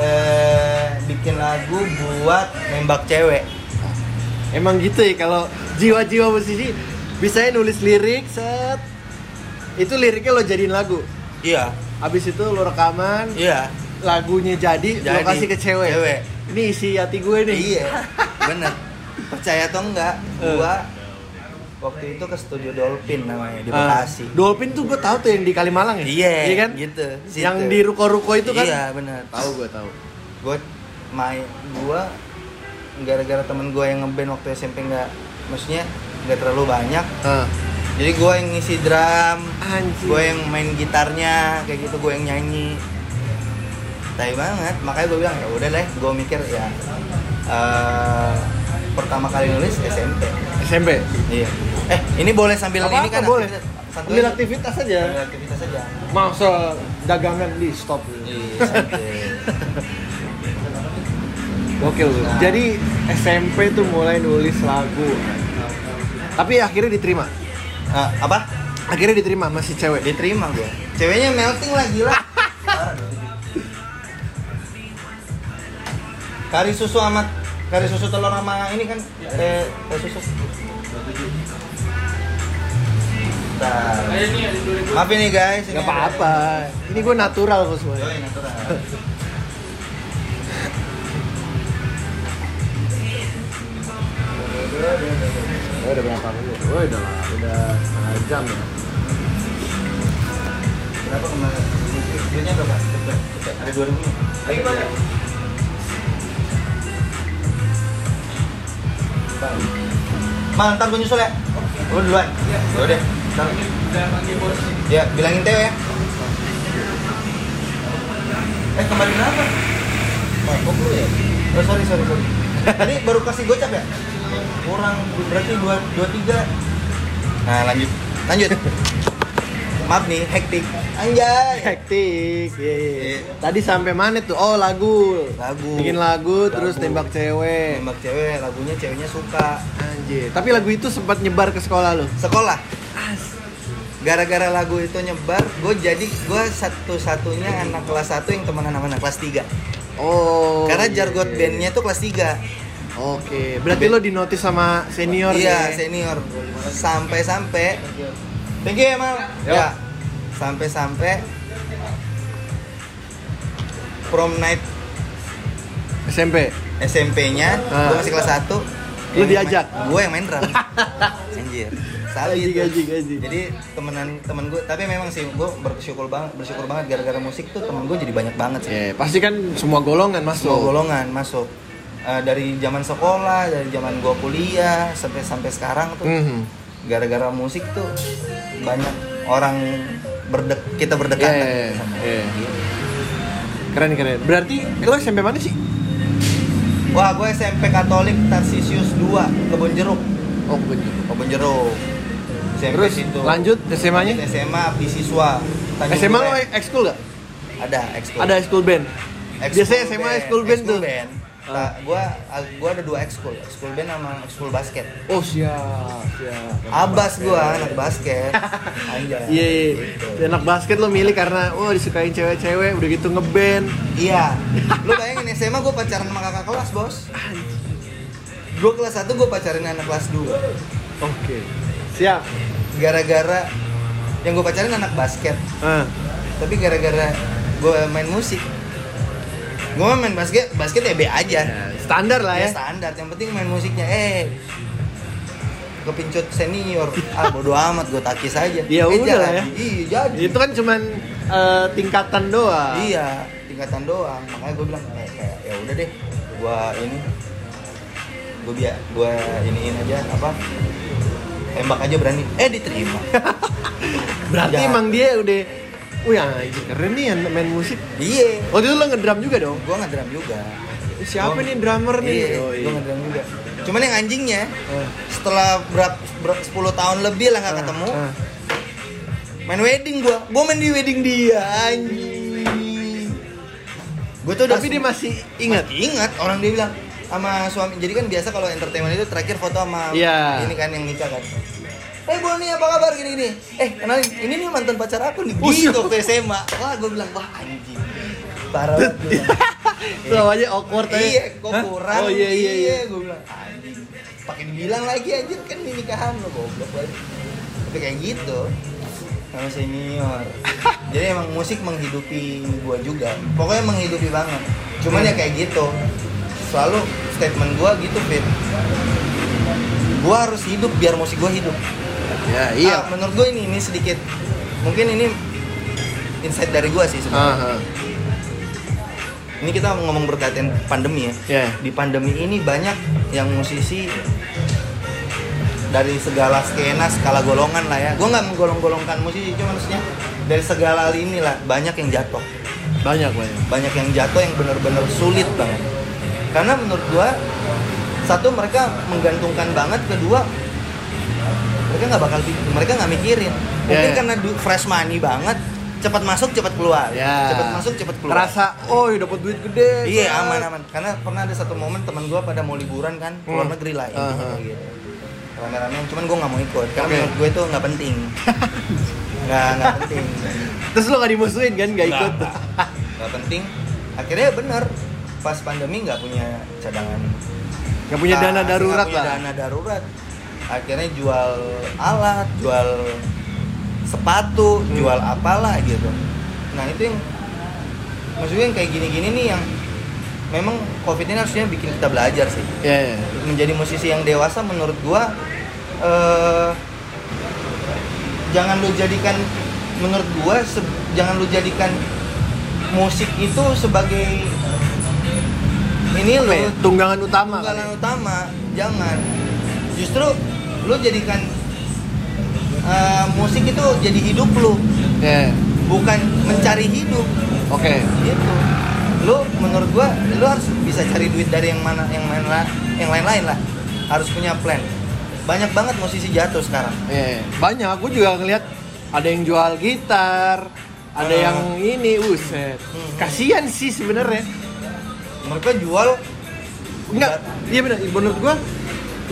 Speaker 1: eh, bikin lagu buat nembak cewek
Speaker 2: Emang gitu ya kalau jiwa-jiwa musisi bisa nulis lirik set itu liriknya lo jadiin lagu.
Speaker 1: iya
Speaker 2: Abis itu lo rekaman,
Speaker 1: iya
Speaker 2: lagunya jadi, lo
Speaker 1: Jadi.
Speaker 2: kasih ke cewek.
Speaker 1: Cewek.
Speaker 2: Ini isi hati gue nih.
Speaker 1: iya bener percaya atau enggak
Speaker 2: Eh.
Speaker 1: gue waktu itu ke studio Dolphin namanya di
Speaker 2: Ah,
Speaker 1: Bekasi
Speaker 2: Dolphin tuh gue tahu tuh yang di Kalimalang ya.
Speaker 1: iya
Speaker 2: kan?
Speaker 1: gitu
Speaker 2: Yang
Speaker 1: situ.
Speaker 2: di ruko-ruko itu kan.
Speaker 1: iya bener
Speaker 2: Tahu gue tahu.
Speaker 1: gue main gue gara-gara temen gue yang ngeband waktu SMP nggak maksudnya nggak terlalu banyak
Speaker 2: Ah,
Speaker 1: jadi gue yang ngisi drum
Speaker 2: anjir.
Speaker 1: gue yang main gitarnya kayak gitu gue yang nyanyi tai banget makanya gue bilang ya udah deh gue mikir ya eh, pertama kali nulis SMP
Speaker 2: SMP.
Speaker 1: iya eh ini boleh sambil
Speaker 2: Apa-apa
Speaker 1: ini kan
Speaker 2: boleh.
Speaker 1: aktivitas- santuy
Speaker 2: Ambil
Speaker 1: aja.
Speaker 2: aktivitas aja.
Speaker 1: Sambil aktivitas aja
Speaker 2: masa dagangan di stop
Speaker 1: iya santai.
Speaker 2: gokil lu jadi SMP tuh mulai nulis lagu tapi akhirnya diterima
Speaker 1: Eh, apa
Speaker 2: akhirnya diterima masih cewek
Speaker 1: diterima gue ceweknya melting lah gila kari susu amat kari susu telur
Speaker 2: Iya.
Speaker 1: Eh, sama ini kan teh teh susu Bentar. Maafin nih guys. ini
Speaker 2: Gak apa-apa. Ini gue natural kok
Speaker 1: ada-
Speaker 2: semuanya.
Speaker 1: Yoi, natural.
Speaker 2: Oh, udah berapa menit? Oh, udah lah, udah setengah jam ya.
Speaker 1: Berapa kemarin? Duitnya berapa? Cepet, cepet. Ada 2000 nih. Lagi banyak. Mal, ntar gue nyusul ya. Lu duluan. Ya udah. Ntar. Ya, bilangin Teo ya. Eh, kemarin apa? Mabok lu ya? Oh, sorry, sorry, sorry. Tadi baru kasih gocap ya? Kurang, berarti 2, 23. Nah, lanjut. Lanjut. Maaf nih, hektik. Anjay.
Speaker 2: Hektik. Iya, iya.
Speaker 1: Iya.
Speaker 2: Tadi sampai mana tuh? Oh, lagu.
Speaker 1: Lagu.
Speaker 2: Bikin lagu,
Speaker 1: Lagu.
Speaker 2: terus tembak cewek.
Speaker 1: Nembak cewek, lagunya ceweknya suka.
Speaker 2: Anjir. Tapi lagu itu sempat nyebar ke sekolah lo.
Speaker 1: Sekolah. Gara-gara lagu itu nyebar, gue jadi gue satu-satunya anak kelas 1 yang temenan sama anak kelas 3.
Speaker 2: Oh.
Speaker 1: Karena
Speaker 2: iya,
Speaker 1: jargot
Speaker 2: iya, iya.
Speaker 1: bandnya tuh kelas 3.
Speaker 2: Oke, berarti lo dinotis sama senior
Speaker 1: iya,
Speaker 2: ya?
Speaker 1: senior. Sampai-sampai Thank you ya, Mal.
Speaker 2: Yo.
Speaker 1: Ya. Sampai-sampai prom night
Speaker 2: SMP.
Speaker 1: SMP-nya,
Speaker 2: Ah.
Speaker 1: gue masih kelas 1
Speaker 2: Lu diajak?
Speaker 1: Gue yang main drum Anjir
Speaker 2: Gaji,
Speaker 1: Sabi itu
Speaker 2: gaji, gaji.
Speaker 1: Jadi temenan temen gue, tapi memang sih gue bersyukur banget bersyukur banget gara-gara musik tuh temen gue jadi banyak banget sih
Speaker 2: Ya, pasti kan semua golongan masuk.
Speaker 1: Semua golongan masuk Eh, Dari zaman sekolah, dari zaman gue kuliah, sampai sampai sekarang tuh
Speaker 2: Mhm.
Speaker 1: Gara-gara musik tuh banyak orang berdek kita berdekatan
Speaker 2: Iya, iya,
Speaker 1: sama
Speaker 2: iya.
Speaker 1: Gitu.
Speaker 2: Keren keren. Berarti lo SMP mana sih?
Speaker 1: Wah, gue SMP Katolik Tarsisius 2 Kebon Jeruk.
Speaker 2: Oh, bener.
Speaker 1: Kebon Jeruk. SMP
Speaker 2: Terus
Speaker 1: situ.
Speaker 2: lanjut SMA-nya?
Speaker 1: Lanjut SMA Abdi Siswa. Tanjung
Speaker 2: SMA lo
Speaker 1: Duren.
Speaker 2: ekskul gak?
Speaker 1: ada ekskul.
Speaker 2: Ada ekskul band.
Speaker 1: Ekskul
Speaker 2: Biasanya SMA ekskul band tuh. Ah.
Speaker 1: band. Nah, gua gua ada dua ekskul, ekskul band sama ekskul basket.
Speaker 2: Oh siap siap.
Speaker 1: Abas gua anak basket. Anjay.
Speaker 2: Iya, iya.
Speaker 1: Gitu.
Speaker 2: anak basket lo milih karena wah disukain cewek-cewek, udah gitu ngeband.
Speaker 1: Iya. Lu bayangin SMA gua pacaran sama kakak kelas, Bos. Gua kelas 1 gua pacarin anak kelas 2.
Speaker 2: Oke. Siap.
Speaker 1: Gara-gara yang gua pacarin anak basket.
Speaker 2: Ah.
Speaker 1: tapi gara-gara gue main musik gue main basket basket EB aja
Speaker 2: Standar lah ya.
Speaker 1: ya standar yang penting main musiknya eh kepincut senior ah bodo amat gue takis aja
Speaker 2: Ya
Speaker 1: Eh,
Speaker 2: udah lah
Speaker 1: jadi.
Speaker 2: ya.
Speaker 1: iya jadi
Speaker 2: Itu kan cuman eh, tingkatan doang.
Speaker 1: iya tingkatan doang makanya gue bilang eh, kayak ya udah deh gue ini gue biar gue iniin aja apa tembak aja berani eh diterima
Speaker 2: Berarti
Speaker 1: Ya.
Speaker 2: emang dia udah Wih anjir keren nih yang main musik
Speaker 1: iya
Speaker 2: Waktu itu lo ngedrum juga dong?
Speaker 1: gue ngedram juga
Speaker 2: Siapa
Speaker 1: Gua-
Speaker 2: nih drummer nih?
Speaker 1: iya, Eh.
Speaker 2: Oh, iya.
Speaker 1: gue ngedram juga cuman yang anjingnya
Speaker 2: Ah,
Speaker 1: setelah berapa 10 tahun lebih lah nggak
Speaker 2: ah,
Speaker 1: ketemu
Speaker 2: ah.
Speaker 1: main wedding gua gua main di wedding dia anjing gua tuh udah
Speaker 2: Tapi dia masih ingat.
Speaker 1: ingat ingat orang dia bilang sama suami jadi kan biasa kalau entertainment itu terakhir foto sama
Speaker 2: Iya.
Speaker 1: ini kan yang nikah kan Eh Boni apa kabar gini gini? Eh kenalin ini nih mantan pacar aku nih
Speaker 2: Oh, iya.
Speaker 1: gitu waktu SMA. Wah gua bilang wah anjing parah banget. gua
Speaker 2: iya.
Speaker 1: bilang.
Speaker 2: Itu aja awkward aja.
Speaker 1: Iya, kok
Speaker 2: Hah?
Speaker 1: kurang.
Speaker 2: Oh iya iya iya.
Speaker 1: gue bilang anjing. Pakai dibilang lagi anjir kan ini nikahan lo goblok banget. Tapi kayak gitu sama senior. Jadi emang musik menghidupi gua juga. Pokoknya menghidupi banget. Cuman ya kayak gitu. Selalu statement gua gitu, Fit. Gua harus hidup biar musik gua hidup.
Speaker 2: Ya iya.
Speaker 1: Ah, menurut gua ini ini sedikit mungkin ini insight dari gua sih
Speaker 2: Ah, ah.
Speaker 1: sebenarnya. Ini kita ngomong berkaitan pandemi ya
Speaker 2: Ya.
Speaker 1: di pandemi ini banyak yang musisi dari segala skena, skala golongan lah ya. Gue nggak menggolong-golongkan musisi, cuma maksudnya dari segala lini lah banyak yang jatuh,
Speaker 2: Banyak banyak.
Speaker 1: banyak yang jatuh yang benar-benar sulit banget. Karena menurut gue satu mereka menggantungkan banget, kedua mereka nggak bakal pik- mereka nggak mikirin. Mungkin
Speaker 2: Ya, ya.
Speaker 1: karena du- fresh money banget, cepat masuk cepat keluar,
Speaker 2: Ya.
Speaker 1: cepat masuk cepat keluar.
Speaker 2: Terasa, oh iya dapat duit gede.
Speaker 1: Iya
Speaker 2: Pak."
Speaker 1: aman aman. Karena pernah ada satu momen teman gue pada mau liburan kan ke luar
Speaker 2: Hmm.
Speaker 1: negeri lah ya.
Speaker 2: Aha.
Speaker 1: gitu. Rame-rame, cuman gue nggak mau ikut karena
Speaker 2: Oke.
Speaker 1: menurut gue itu nggak penting. Nggak nggak penting.
Speaker 2: Terus lo gak dimusuhin kan? Gak ikut.
Speaker 1: Nggak, Nggak penting. Akhirnya ya bener pas pandemi nggak punya cadangan. Nah,
Speaker 2: Gak punya
Speaker 1: kas,
Speaker 2: dana darurat
Speaker 1: nggak punya
Speaker 2: lah.
Speaker 1: Dana darurat. Akhirnya jual alat, jual sepatu
Speaker 2: Hmm.
Speaker 1: jual apalah gitu nah itu yang maksudnya yang kayak gini-gini nih yang memang covid ini harusnya bikin kita belajar sih
Speaker 2: Iya, iya.
Speaker 1: menjadi musisi yang dewasa menurut gua eh, jangan lu jadikan menurut gua se- jangan lu jadikan musik itu sebagai ini
Speaker 2: Apa
Speaker 1: lu
Speaker 2: ya? Tunggangan utama.
Speaker 1: tunggalan
Speaker 2: kali.
Speaker 1: utama jangan justru lu jadikan eh, musik itu jadi hidup lu
Speaker 2: Iya. iya.
Speaker 1: bukan mencari hidup
Speaker 2: Oke.
Speaker 1: gitu lu menurut gua lu harus bisa cari duit dari yang mana yang lain lah yang lain lain lah harus punya plan banyak banget musisi jatuh sekarang
Speaker 2: Iya, iya. banyak. Gue juga ngeliat ada yang jual gitar, ada
Speaker 1: Ah.
Speaker 2: yang ini, uset.
Speaker 1: Mhm.
Speaker 2: Kasian sih sebenarnya.
Speaker 1: mereka jual
Speaker 2: Enggak, iya benar. Menurut gua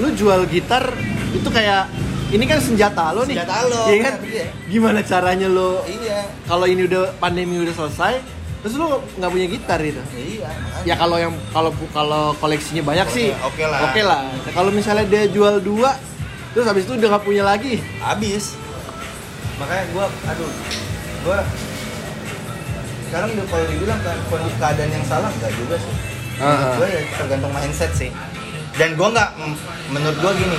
Speaker 2: lu jual gitar itu kayak ini kan senjata lo nih.
Speaker 1: Senjata lo,
Speaker 2: Iya kan?
Speaker 1: benar, iya.
Speaker 2: Gimana caranya lo
Speaker 1: iya
Speaker 2: kalau ini udah pandemi udah selesai, terus lu nggak punya gitar gitu.
Speaker 1: iya
Speaker 2: Ya kalau yang kalau kalau koleksinya banyak
Speaker 1: Oke,
Speaker 2: sih.
Speaker 1: oke lah.
Speaker 2: Oke lah. Nah, Kalau misalnya dia jual dua, terus habis itu udah nggak punya lagi.
Speaker 1: habis makanya gua aduh gua sekarang udah kalau dibilang kan kondisi keadaan yang salah enggak juga sih menurut
Speaker 2: Ah.
Speaker 1: gua ya tergantung mindset sih dan gua nggak mm, menurut gua gini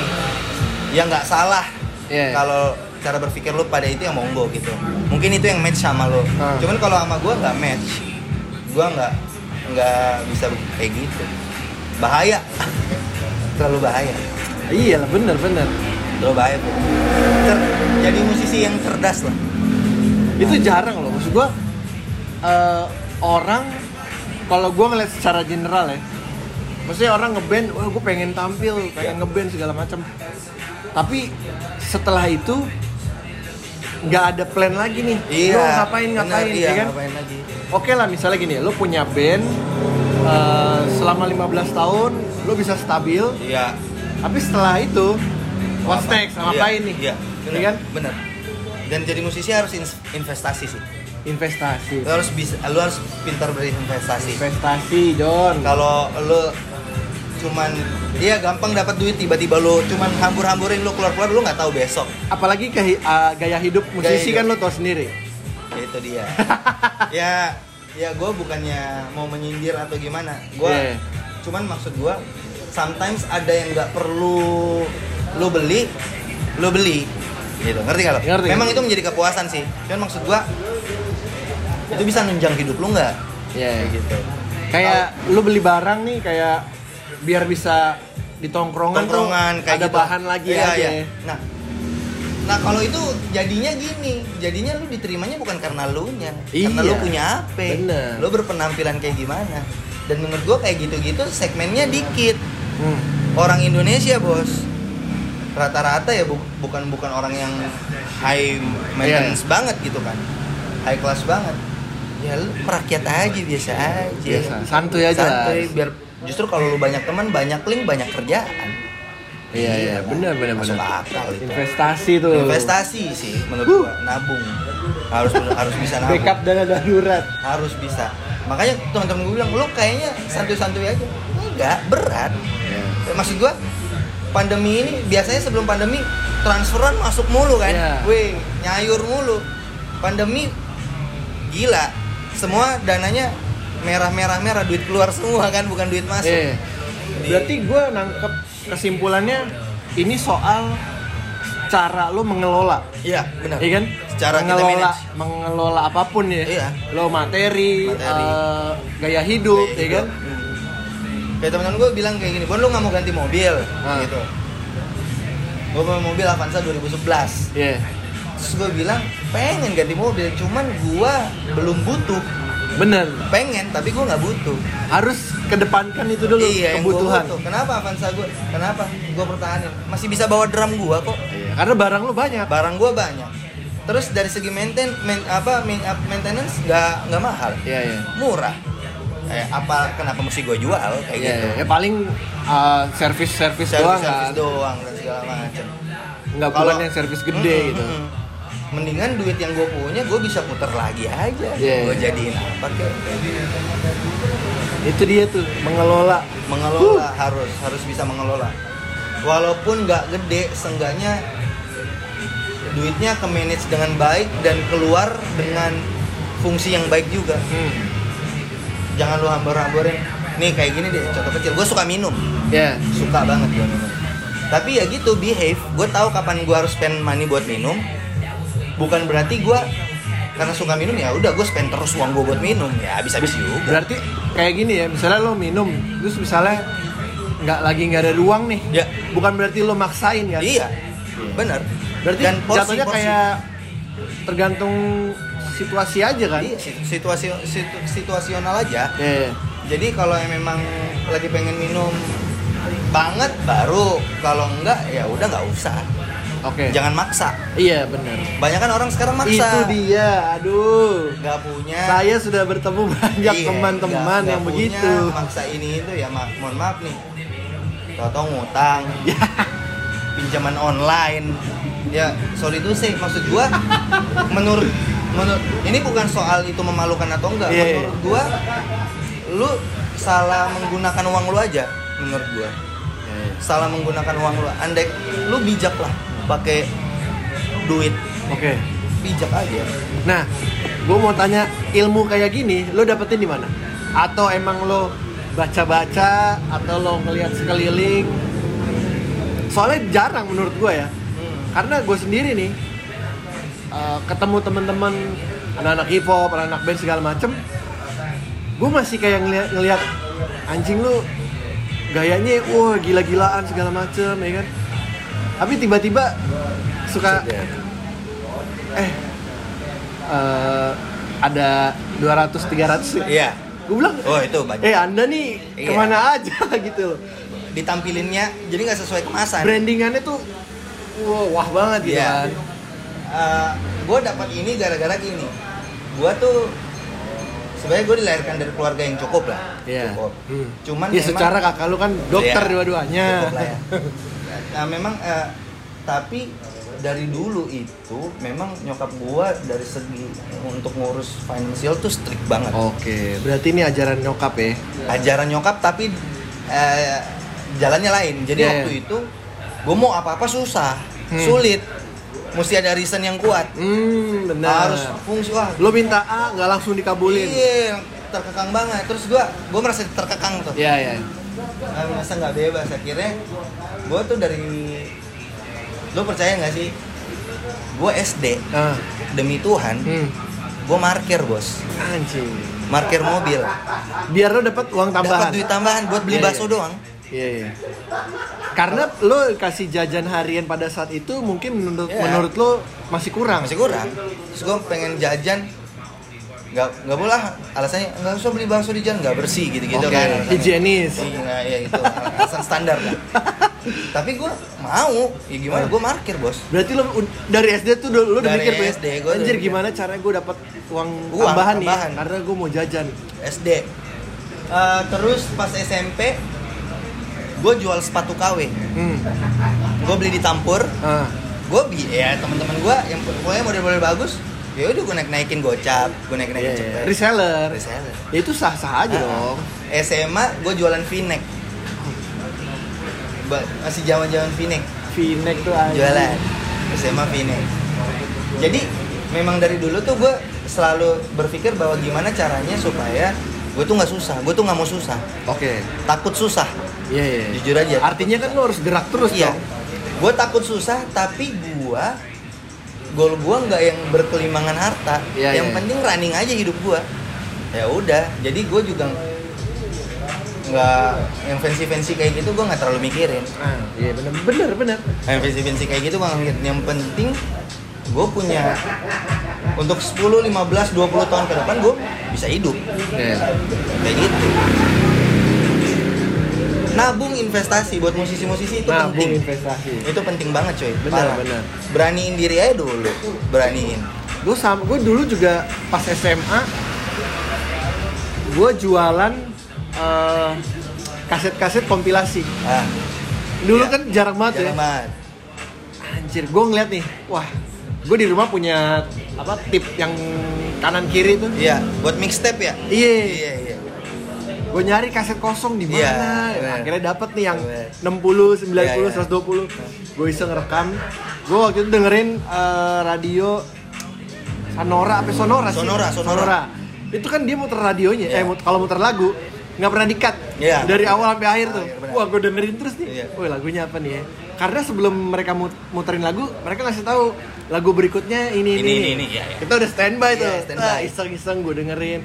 Speaker 1: ya nggak salah
Speaker 2: Iya.
Speaker 1: kalau cara berpikir lu pada itu yang monggo gitu mungkin itu yang match sama lu
Speaker 2: Ah.
Speaker 1: cuman kalau sama gua nggak match gua nggak nggak bisa kayak gitu bahaya terlalu bahaya
Speaker 2: Iya lah, bener bener.
Speaker 1: terlalu bahaya Bu. Cer- jadi musisi yang cerdas lah
Speaker 2: Itu jarang loh. Maksud gua eh, orang kalau gua ngeliat secara general ya, maksudnya orang ngeband, wah gua pengen tampil, pengen
Speaker 1: Iya.
Speaker 2: ngeband segala macam. Tapi setelah itu nggak ada plan lagi nih. Lu ngapain
Speaker 1: benar,
Speaker 2: ngapain,
Speaker 1: iya,
Speaker 2: ya kan?
Speaker 1: ngapain lagi
Speaker 2: Oke lah misalnya gini, lo punya band eh, selama 15 tahun, lo bisa stabil,
Speaker 1: iya
Speaker 2: tapi setelah itu what's next,
Speaker 1: Iya,
Speaker 2: ngapain nih?
Speaker 1: iya
Speaker 2: Iya
Speaker 1: benar
Speaker 2: kan?
Speaker 1: benar dan jadi musisi harus ins- investasi sih
Speaker 2: Investasi.
Speaker 1: lu harus bisa lu harus pintar berinvestasi
Speaker 2: Investasi, Don.
Speaker 1: kalau lu cuman iya gampang dapat duit tiba-tiba lu cuman hambur-hamburin lu keluar-keluar lu nggak tahu besok
Speaker 2: Apalagi ke, eh, gaya hidup musisi
Speaker 1: hidup.
Speaker 2: kan lo tau sendiri.
Speaker 1: ya itu dia ya ya gue bukannya mau menyindir atau gimana gue
Speaker 2: Iya.
Speaker 1: cuman maksud gue sometimes ada yang nggak perlu lu beli lu beli gitu ngerti gak lo?
Speaker 2: Ngerti.
Speaker 1: memang itu menjadi kepuasan sih cuman maksud gue itu bisa nunjang hidup lu nggak
Speaker 2: Iya.
Speaker 1: kayak gitu
Speaker 2: Kayak lo beli barang nih kayak biar bisa di tongkrongan, tuh
Speaker 1: tongkrongan kayak
Speaker 2: ada
Speaker 1: gitu.
Speaker 2: bahan lagi
Speaker 1: Iya,
Speaker 2: aja.
Speaker 1: iya. Nah, nah kalau itu jadinya gini, jadinya lu diterimanya bukan karena lu nya, karena
Speaker 2: Iya.
Speaker 1: lu punya HP,
Speaker 2: Bener.
Speaker 1: lu berpenampilan kayak gimana. Dan menurut gua kayak gitu-gitu segmennya dikit.
Speaker 2: Hmm.
Speaker 1: Orang Indonesia bos, rata-rata ya bu- bukan bukan orang yang high maintenance
Speaker 2: Iya.
Speaker 1: banget gitu kan, high class banget. Ya lu perakyat aja biasa aja.
Speaker 2: Biasa, santuy aja lah.
Speaker 1: Santuy, biar justru kalau lu banyak teman, banyak link, banyak kerjaan.
Speaker 2: Iya iya, benar benar
Speaker 1: Masuk
Speaker 2: benar.
Speaker 1: akal itu.
Speaker 2: Investasi tuh.
Speaker 1: Investasi sih menurut gua, nabung. Harus harus bisa nabung.
Speaker 2: Backup dana darurat.
Speaker 1: Harus bisa. Makanya teman-teman gue bilang, "Lu kayaknya santuy-santuy aja." Enggak, berat. Ya, Maksud gua pandemi ini biasanya sebelum pandemi transferan masuk mulu kan.
Speaker 2: Iya.
Speaker 1: Weh, nyayur mulu. Pandemi gila. Semua dananya merah-merah merah duit keluar semua kan bukan duit masuk.
Speaker 2: Iya. Berarti gue nangkep kesimpulannya ini soal cara lo mengelola,
Speaker 1: Iya, benar.
Speaker 2: iya kan?
Speaker 1: Secara kita
Speaker 2: mengelola,
Speaker 1: manage.
Speaker 2: mengelola apapun ya.
Speaker 1: Iya.
Speaker 2: Lo materi,
Speaker 1: Materi.
Speaker 2: eh, gaya hidup,
Speaker 1: Kayak
Speaker 2: ya
Speaker 1: gitu.
Speaker 2: kan?
Speaker 1: Hmm. kayak temen-temen gue bilang kayak gini bon lu nggak mau ganti mobil
Speaker 2: Ah.
Speaker 1: gitu gue punya mobil Avanza 2011
Speaker 2: Iya.
Speaker 1: terus gue bilang pengen ganti mobil cuman gue belum butuh
Speaker 2: Bener.
Speaker 1: pengen tapi gue nggak butuh
Speaker 2: Harus kedepankan itu dulu
Speaker 1: Iya, yang gua
Speaker 2: kebutuhan.
Speaker 1: butuh. kenapa Avanza gue kenapa gue pertahanin masih bisa bawa drum gue kok
Speaker 2: Iya, Karena barang lo banyak.
Speaker 1: barang gue banyak terus dari segi maintain main, apa main- maintenance nggak nggak mahal
Speaker 2: Iya iya.
Speaker 1: murah eh, apa kenapa mesti gue jual kayak
Speaker 2: Iya,
Speaker 1: gitu
Speaker 2: iya. Ya paling eh, servis-servis doang
Speaker 1: servis-servis
Speaker 2: kan.
Speaker 1: doang dan segala macam.
Speaker 2: Nggak bukan yang servis gede
Speaker 1: Mm-mm,
Speaker 2: gitu.
Speaker 1: mm-mm. Mendingan duit yang gue punya gue bisa puter lagi aja.
Speaker 2: Iya,
Speaker 1: Gue
Speaker 2: iya.
Speaker 1: jadiin apa kek.
Speaker 2: Itu dia tuh mengelola.
Speaker 1: Mengelola harus harus bisa mengelola. Walaupun nggak gede, seenggaknya duitnya ke manage dengan baik dan keluar dengan fungsi yang baik juga
Speaker 2: Hmm.
Speaker 1: jangan lu hambur-hamburin nih kayak gini deh contoh kecil gue suka minum
Speaker 2: Ya.
Speaker 1: suka banget gue minum tapi ya gitu behave gue tahu kapan gue harus spend money buat minum bukan berarti gue karena suka minum ya udah gue spend terus uang gue buat minum ya habis habis juga
Speaker 2: Berarti kayak gini ya, misalnya lo minum, terus misalnya nggak lagi nggak ada ruang nih.
Speaker 1: Ya.
Speaker 2: Bukan berarti lo maksain kan?
Speaker 1: iya benar
Speaker 2: Berarti jatuhnya kayak tergantung situasi aja kan?
Speaker 1: Iya, situ- situasi situ- situasional aja
Speaker 2: Iya, iya.
Speaker 1: jadi kalau yang memang lagi pengen minum banget baru kalau enggak ya udah nggak usah
Speaker 2: Oke.
Speaker 1: jangan maksa
Speaker 2: Iya benar.
Speaker 1: banyak kan orang sekarang maksa
Speaker 2: Itu dia. Aduh.
Speaker 1: nggak punya
Speaker 2: Saya sudah bertemu banyak
Speaker 1: Iya,
Speaker 2: teman-teman
Speaker 1: nggak- nggak
Speaker 2: yang
Speaker 1: punya,
Speaker 2: begitu.
Speaker 1: maksa ini itu ya ma- mohon maaf nih tau ngutang
Speaker 2: Ya.
Speaker 1: pinjaman online ya sorry itu sih maksud gua menurut menurut ini bukan soal itu memalukan atau enggak
Speaker 2: Iya, iya.
Speaker 1: menurut gua lu salah menggunakan uang lu aja menurut gua salah menggunakan uang lu andai lu bijak lah pakai duit
Speaker 2: Oke.
Speaker 1: bijak aja
Speaker 2: Nah, gue mau tanya ilmu kayak gini, lo dapetin di mana? Atau emang lo baca-baca atau lo ngelihat sekeliling? Soalnya jarang menurut gue ya,
Speaker 1: Hmm.
Speaker 2: karena gue sendiri nih eh, ketemu teman-teman anak-anak hip hop, anak-anak band segala macem, gue masih kayak ngelihat ngelihat anjing lo gayanya, wah gila-gilaan segala macem, ya kan? Tapi tiba-tiba suka
Speaker 1: ya.
Speaker 2: eh eh, ada 200 300 ya.
Speaker 1: iya
Speaker 2: Gue bilang,
Speaker 1: oh itu banyak
Speaker 2: "Eh, Anda nih
Speaker 1: Iya.
Speaker 2: kemana aja gitu loh."
Speaker 1: ditampilinnya jadi nggak sesuai kemasan
Speaker 2: Brandingannya tuh wah, wah banget gitu
Speaker 1: Iya.
Speaker 2: kan.
Speaker 1: gue Eh, dapat ini gara-gara gini gue tuh sebenarnya gue dilahirkan dari keluarga yang cukup lah
Speaker 2: Iya.
Speaker 1: cukup
Speaker 2: Hmm.
Speaker 1: cuman
Speaker 2: ya
Speaker 1: memang-
Speaker 2: secara kakak lu kan dokter
Speaker 1: Iya,
Speaker 2: dua-duanya.
Speaker 1: cukup lah ya. nah memang eh, tapi dari dulu itu memang nyokap gue dari segi untuk ngurus finansial tuh strict banget
Speaker 2: Oh. Oke, berarti ini ajaran nyokap ya.
Speaker 1: ajaran nyokap tapi eh, jalannya lain jadi
Speaker 2: Iya,
Speaker 1: waktu
Speaker 2: iya.
Speaker 1: itu gue mau apa-apa susah
Speaker 2: Hmm.
Speaker 1: sulit mesti ada reason yang kuat
Speaker 2: Hmm, benar.
Speaker 1: harus fungsi wah
Speaker 2: Lo minta A nggak langsung dikabulin.
Speaker 1: Iya, terkekang banget. Terus gua gua merasa terkekang tuh.
Speaker 2: Iya, iya.
Speaker 1: Nah, merasa nggak bebas akhirnya. Gua tuh dari lu percaya nggak sih? Gua SD
Speaker 2: Ah,
Speaker 1: demi Tuhan,
Speaker 2: hmm.
Speaker 1: gua markir, Bos.
Speaker 2: Anjing.
Speaker 1: Markir mobil.
Speaker 2: Biar lo dapat uang
Speaker 1: Dapat
Speaker 2: tambahan.
Speaker 1: duit tambahan buat beli
Speaker 2: Iya,
Speaker 1: bakso
Speaker 2: iya.
Speaker 1: doang.
Speaker 2: Iya, iya. Karena lo kasih jajan harian pada saat itu mungkin menurut
Speaker 1: Iya.
Speaker 2: menurut lo masih kurang.
Speaker 1: Masih kurang. Terus gua pengen jajan nggak nggak boleh lah. alasannya nggak usah beli bakso di jalan nggak bersih gitu gitu
Speaker 2: Oke,
Speaker 1: kan alasannya.
Speaker 2: higienis.
Speaker 1: iya iya itu alasan standar kan tapi gua mau ya gimana gua markir bos
Speaker 2: Berarti lo ud- dari SD tuh dulu- lo udah
Speaker 1: Dari
Speaker 2: mikir tuh ya,
Speaker 1: SD gua
Speaker 2: anjir
Speaker 1: udah-
Speaker 2: gimana caranya gue dapat uang,
Speaker 1: Uang
Speaker 2: tambahan, nih ya?
Speaker 1: tambahan.
Speaker 2: karena gue mau jajan.
Speaker 1: SD. Eh, terus pas SMP, gue jual sepatu KW.
Speaker 2: Hmm.
Speaker 1: Gue beli di Tampur.
Speaker 2: Ah.
Speaker 1: Gue bi, ya teman-teman gue yang pokoknya model-model bagus. Ya udah gue naik naikin gocap, gue naik
Speaker 2: Iya,
Speaker 1: naikin
Speaker 2: iya.
Speaker 1: cepet.
Speaker 2: Reseller.
Speaker 1: Reseller.
Speaker 2: Ya itu sah-sah aja dong.
Speaker 1: Ah, SMA gue jualan V-neck. Ba- masih jaman-jaman V-neck
Speaker 2: V-neck tuh aja.
Speaker 1: jualan. SMA V-neck. Jadi memang dari dulu tuh gue selalu berpikir bahwa gimana caranya supaya gue tuh nggak susah, gue tuh nggak mau susah,
Speaker 2: Oke.
Speaker 1: takut susah.
Speaker 2: Iya, iya.
Speaker 1: Jujur aja.
Speaker 2: Artinya kan lo harus gerak terus
Speaker 1: iya.
Speaker 2: dong.
Speaker 1: Gue takut susah, tapi gua gol gua nggak yang berkelimangan harta.
Speaker 2: Iya, iya.
Speaker 1: yang penting running aja hidup gua. Ya udah, jadi gue juga nggak yang fancy-fancy kayak gitu gua nggak terlalu mikirin.
Speaker 2: Ah, iya bener bener bener.
Speaker 1: Yang fancy-fancy kayak gitu gua nggak mikirin. Yang penting gue punya untuk 10, 15, 20 tahun ke depan gue bisa hidup Iya. kayak gitu. Nabung investasi buat musisi-musisi itu
Speaker 2: Nabung
Speaker 1: penting.
Speaker 2: investasi.
Speaker 1: itu penting banget cuy
Speaker 2: Benar,
Speaker 1: Parah.
Speaker 2: benar.
Speaker 1: beraniin diri aja dulu beraniin
Speaker 2: gue sama gue dulu juga pas SMA gue jualan eh, kaset-kaset kompilasi
Speaker 1: ah
Speaker 2: dulu
Speaker 1: Iya.
Speaker 2: kan jarang banget
Speaker 1: jangan
Speaker 2: ya
Speaker 1: banget
Speaker 2: anjir gue ngeliat nih wah gue di rumah punya apa tip yang kanan kiri tuh
Speaker 1: iya buat mixtape ya
Speaker 2: iya
Speaker 1: iya iya
Speaker 2: gue nyari kaset kosong di mana Ya,
Speaker 1: Iya, bener.
Speaker 2: akhirnya dapet nih yang
Speaker 1: Bener.
Speaker 2: 60 90
Speaker 1: Iya, iya.
Speaker 2: 120 gue iseng rekam gue waktu itu dengerin eh, radio Sonora apa Sonora sih
Speaker 1: Sonora, Sonora.
Speaker 2: itu kan dia muter radionya eh
Speaker 1: Iya.
Speaker 2: mut- kalau muter lagu nggak pernah dikat
Speaker 1: Iya.
Speaker 2: dari awal sampai akhir tuh
Speaker 1: Akhir, bener.
Speaker 2: wah gue dengerin terus nih
Speaker 1: Iya.
Speaker 2: wah lagunya apa nih ya karena sebelum mereka mut- muterin lagu mereka ngasih tahu lagu berikutnya ini ini
Speaker 1: Ini,
Speaker 2: ini,
Speaker 1: ini, ini, iya, iya.
Speaker 2: kita udah standby
Speaker 1: Iya,
Speaker 2: tuh
Speaker 1: standby.
Speaker 2: Ah, iseng-iseng gue dengerin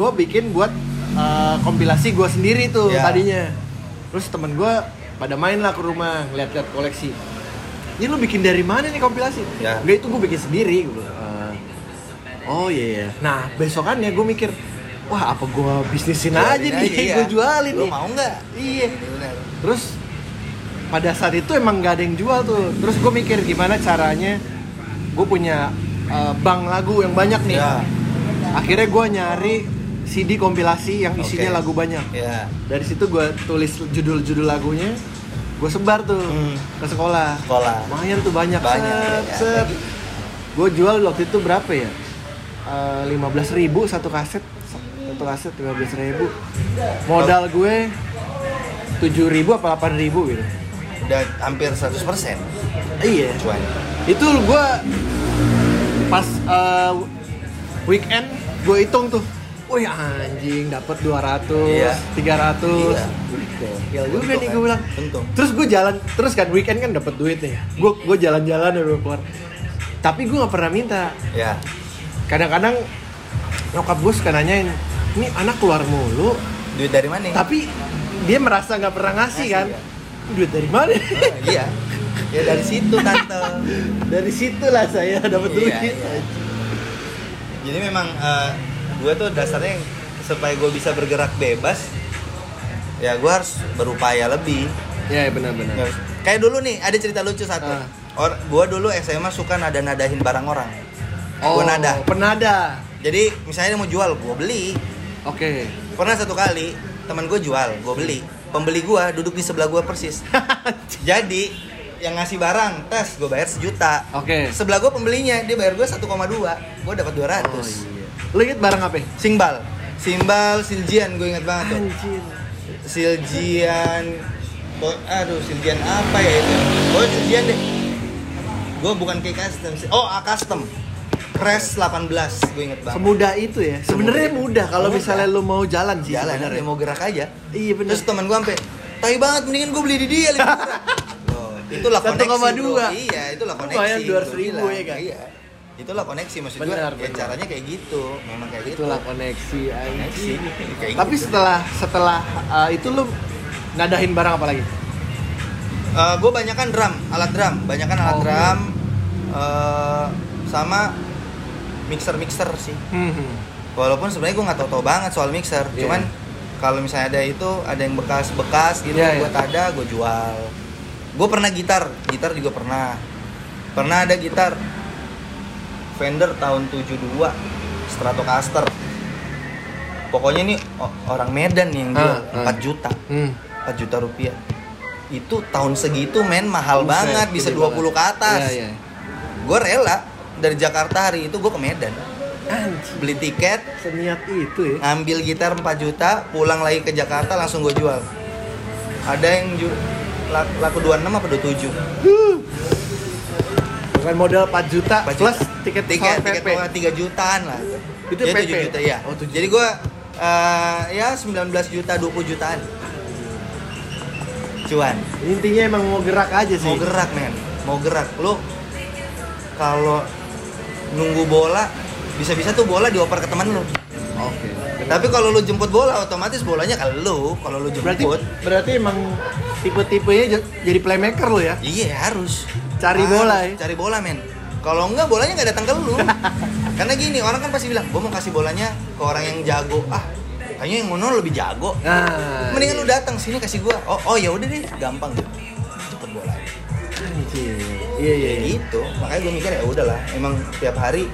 Speaker 2: gue bikin buat eh, kompilasi gue sendiri tuh
Speaker 1: Iya.
Speaker 2: tadinya terus temen gue pada main lah ke rumah lihat-lihat koleksi ini lu bikin dari mana nih kompilasi?
Speaker 1: Ya.
Speaker 2: Enggak itu gue bikin sendiri. Gua bilang, "Ah, oh iya. iya." Nah besokannya gue mikir, wah apa gue bisnisin aja
Speaker 1: Jualin
Speaker 2: nih?
Speaker 1: iya.
Speaker 2: Gue jualin
Speaker 1: Lu
Speaker 2: nih.
Speaker 1: mau nggak?
Speaker 2: Iya.
Speaker 1: Bener.
Speaker 2: Terus pada saat itu emang gak ada yang jual tuh. Terus gue mikir gimana caranya gue punya eh, bank lagu yang banyak nih.
Speaker 1: Ya.
Speaker 2: Akhirnya gue nyari CD kompilasi yang isinya
Speaker 1: Oke.
Speaker 2: lagu banyak
Speaker 1: Iya.
Speaker 2: dari situ gue tulis judul-judul lagunya gue sebar tuh
Speaker 1: Hmm.
Speaker 2: ke sekolah
Speaker 1: Sekolah.
Speaker 2: lumayan tuh banyak
Speaker 1: Banyak,
Speaker 2: set, set.
Speaker 1: ya.
Speaker 2: gue jual waktu itu berapa ya Eh, lima belas ribu satu kaset satu kaset lima belas ribu modal gue tujuh ribu apa delapan ribu gitu
Speaker 1: Udah hampir 100%
Speaker 2: iya
Speaker 1: cuan.
Speaker 2: itu gue pas eh, weekend gue hitung tuh Wih anjing dapat 200,
Speaker 1: Iya.
Speaker 2: 300.
Speaker 1: Gila.
Speaker 2: Gila juga
Speaker 1: Untung
Speaker 2: nih
Speaker 1: kan?
Speaker 2: gue bilang.
Speaker 1: Untung.
Speaker 2: Terus gue jalan, terus kan weekend kan dapat duit nih. Gue gue jalan-jalan ya gue keluar. Tapi gue nggak pernah minta.
Speaker 1: Ya.
Speaker 2: Kadang-kadang nyokap gue suka nanyain, ini anak keluar mulu,
Speaker 1: Duit dari mana?
Speaker 2: tapi dia merasa nggak pernah ngasih
Speaker 1: Ngasih,
Speaker 2: kan?
Speaker 1: ya.
Speaker 2: Duit dari mana?
Speaker 1: Oh, iya. Ya dari situ tante.
Speaker 2: dari situlah saya dapat duit.
Speaker 1: Iya, iya. Jadi memang gue tuh dasarnya yang- supaya gue bisa bergerak bebas, ya gue harus berupaya lebih.
Speaker 2: Ya benar-benar.
Speaker 1: Nggak harus- Kayak dulu nih ada cerita lucu satu.
Speaker 2: Ah.
Speaker 1: Or, gue dulu SMA suka nada-nadahin barang orang.
Speaker 2: Oh,
Speaker 1: Gue nada.
Speaker 2: Penada.
Speaker 1: Jadi misalnya dia mau jual, gue beli.
Speaker 2: Oke.
Speaker 1: Pernah satu kali teman gue jual, gue beli. Pembeli gue duduk di sebelah gue persis. Jadi yang ngasih barang, tes gue bayar sejuta.
Speaker 2: Oke.
Speaker 1: Sebelah gue pembelinya, dia bayar gue 1,2. Gue dapat 200.
Speaker 2: Oh, iya. Lo inget barang apa?
Speaker 1: Simbal. Simbal, Siljian, gue ingat banget tuh.
Speaker 2: Anjir.
Speaker 1: Siljian, Bo- aduh Siljian apa ya itu? Oh Siljian deh. Gue bukan kayak custom. sih. Oh A custom. Crash 18, gue inget banget.
Speaker 2: Semudah itu ya. Sebenarnya
Speaker 1: Semudah.
Speaker 2: mudah kalau
Speaker 1: Semudah.
Speaker 2: misalnya lo mau jalan sih.
Speaker 1: Jalan,
Speaker 2: sebenarnya.
Speaker 1: dia mau gerak aja.
Speaker 2: Iya benar.
Speaker 1: Terus teman gue sampai, tai banget mendingan gue beli di dia lebih murah." Loh, itulah
Speaker 2: 1,2.
Speaker 1: koneksi. bro. Iya, itulah koneksi.
Speaker 2: Lumayan
Speaker 1: gua
Speaker 2: 200 ribu,
Speaker 1: bilang.
Speaker 2: ya kan?
Speaker 1: Iya. Itulah koneksi maksud gue.
Speaker 2: Benar,
Speaker 1: Ya,
Speaker 2: benar.
Speaker 1: caranya kayak gitu. Memang kayak gitu.
Speaker 2: Itulah koneksi.
Speaker 1: Koneksi.
Speaker 2: Anjir.
Speaker 1: Kayak
Speaker 2: Tapi
Speaker 1: gitu.
Speaker 2: setelah setelah uh, itu lo nadahin barang apa lagi?
Speaker 1: gue banyakan Eh, drum, alat drum, banyakan alat
Speaker 2: Oh.
Speaker 1: drum, eh, sama mixer mixer sih.
Speaker 2: Hmm.
Speaker 1: Walaupun sebenarnya gue nggak tahu-tahu banget soal mixer,
Speaker 2: Iya.
Speaker 1: cuman kalau misalnya ada itu ada yang bekas-bekas gitu
Speaker 2: Iya, iya.
Speaker 1: buat ada gue jual. Gue pernah gitar, gitar juga pernah. Pernah ada gitar Fender tahun 72 Stratocaster. Pokoknya ini o- orang Medan nih yang jual
Speaker 2: Ah, ah.
Speaker 1: 4 juta.
Speaker 2: Hmm.
Speaker 1: 4 juta rupiah itu tahun segitu men mahal
Speaker 2: Buset,
Speaker 1: banget bisa
Speaker 2: gede
Speaker 1: 20 ke
Speaker 2: banget.
Speaker 1: atas
Speaker 2: Iya, iya.
Speaker 1: gue rela dari Jakarta hari itu gue ke Medan
Speaker 2: Anjir.
Speaker 1: beli tiket
Speaker 2: Seniat itu ya.
Speaker 1: ngambil gitar 4 juta pulang lagi ke Jakarta langsung gue jual ada yang ju la- laku 26 apa 27
Speaker 2: Bukan modal 4 juta
Speaker 1: 4 juta.
Speaker 2: plus tiket pesawat
Speaker 1: tiket tiket
Speaker 2: PP.
Speaker 1: pesawat 3 jutaan lah
Speaker 2: Itu
Speaker 1: Jadi
Speaker 2: PP?
Speaker 1: 7 juta ya
Speaker 2: Oh, 7
Speaker 1: jadi gue eh, ya 19 juta 20 jutaan cuan
Speaker 2: Intinya emang mau gerak aja sih.
Speaker 1: mau gerak men mau gerak lu kalau nunggu bola bisa-bisa tuh bola dioper ke teman lu
Speaker 2: Oke.
Speaker 1: tapi kalau lu jemput bola otomatis bolanya ke lu kalau lu
Speaker 2: Berarti
Speaker 1: jemput
Speaker 2: berarti emang tipe-tipenya j- jadi playmaker lo ya.
Speaker 1: iya harus
Speaker 2: Cari
Speaker 1: Harus,
Speaker 2: bola ya?
Speaker 1: cari bola men kalau enggak bolanya nggak datang ke lu karena gini orang kan pasti bilang gua mau kasih bolanya ke orang yang jago ah kayaknya yang ngono lebih jago
Speaker 2: Nah.
Speaker 1: mendingan lu datang sini kasih gua oh oh ya udah deh gampang gitu jemput bola
Speaker 2: Anjir. Iya iya.
Speaker 1: ya
Speaker 2: iya.
Speaker 1: gitu makanya gue mikir ya udahlah emang tiap hari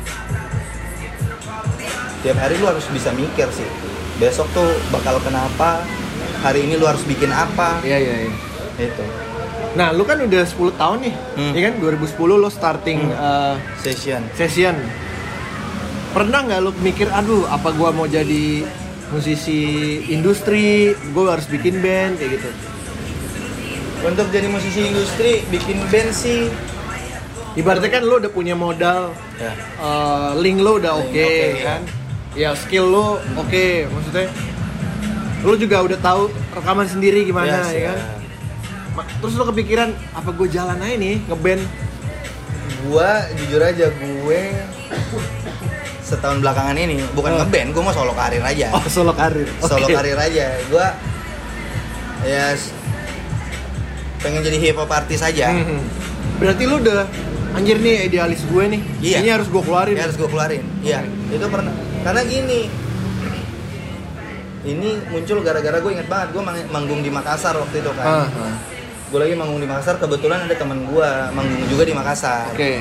Speaker 1: tiap hari lu harus bisa mikir sih besok tuh bakal kenapa hari ini lu harus bikin apa gitu.
Speaker 2: Iya iya. iya.
Speaker 1: itu
Speaker 2: Nah, lu kan udah 10 tahun nih.
Speaker 1: Hmm.
Speaker 2: Ya kan 2010 lu starting eh,
Speaker 1: session
Speaker 2: session. Pernah nggak lu mikir aduh apa gua mau jadi musisi industri gue harus bikin band kayak gitu
Speaker 1: Untuk jadi musisi industri, bikin band sih.
Speaker 2: ibaratnya kan lo udah punya modal
Speaker 1: Ya.
Speaker 2: eh, link lo udah oke
Speaker 1: Link oke,
Speaker 2: kan ya skill lo oke maksudnya lo juga udah tahu rekaman sendiri gimana ya kan Ma- terus lo kepikiran apa gue jalan aja nih ngeband
Speaker 1: Gua jujur aja gue setahun belakangan ini
Speaker 2: Oh.
Speaker 1: bukan ngeband, gue mau solo karir aja.
Speaker 2: oh solo karir
Speaker 1: Solo
Speaker 2: Oke.
Speaker 1: karir aja. Gua ya s- pengen jadi hip hop artis aja.
Speaker 2: Mhm. berarti lo udah anjir nih idealis gue nih
Speaker 1: Iya.
Speaker 2: ini harus gue keluarin Ah,
Speaker 1: Ya, harus gue keluarin. Iya, itu pernah. Karena gini, ini muncul gara-gara gue inget banget gue mang- manggung di Makassar waktu itu
Speaker 2: Ah,
Speaker 1: kan.
Speaker 2: ah.
Speaker 1: Gue lagi manggung di Makassar, kebetulan ada teman gue manggung juga di Makassar.
Speaker 2: oke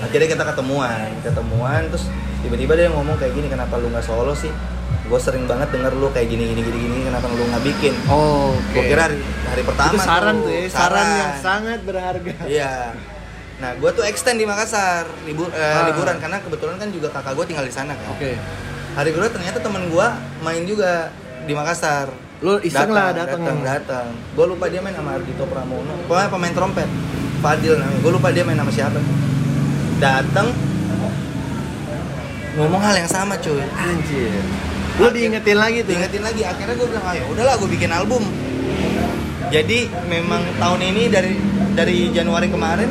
Speaker 1: Akhirnya kita ketemuan, ketemuan terus tiba-tiba dia ngomong kayak gini, kenapa lu nggak solo sih? Gue sering banget denger lu kayak gini gini gini gini, kenapa lu nggak bikin?
Speaker 2: Oh, oke
Speaker 1: Gue kira hari, hari pertama
Speaker 2: itu saran tuh ya, saran, yang
Speaker 1: saran.
Speaker 2: sangat berharga
Speaker 1: Iya. Nah, gue tuh extend di Makassar libur eh,
Speaker 2: Ah.
Speaker 1: liburan karena kebetulan kan juga kakak gue tinggal di sana kan.
Speaker 2: oke
Speaker 1: Hari kedua ternyata temen gue main juga di Makassar.
Speaker 2: Lu iseng lah dateng.
Speaker 1: datang. Datang. Gue lupa dia main sama Ardito Pramono. Pokoknya pemain trompet. Fadil namanya. Gue lupa dia main sama siapa. Datang ngomong hal yang sama cuy
Speaker 2: anjir lo diingetin lagi tuh
Speaker 1: diingetin lagi akhirnya gue bilang ayo udahlah gue bikin album jadi memang tahun ini dari dari Januari kemarin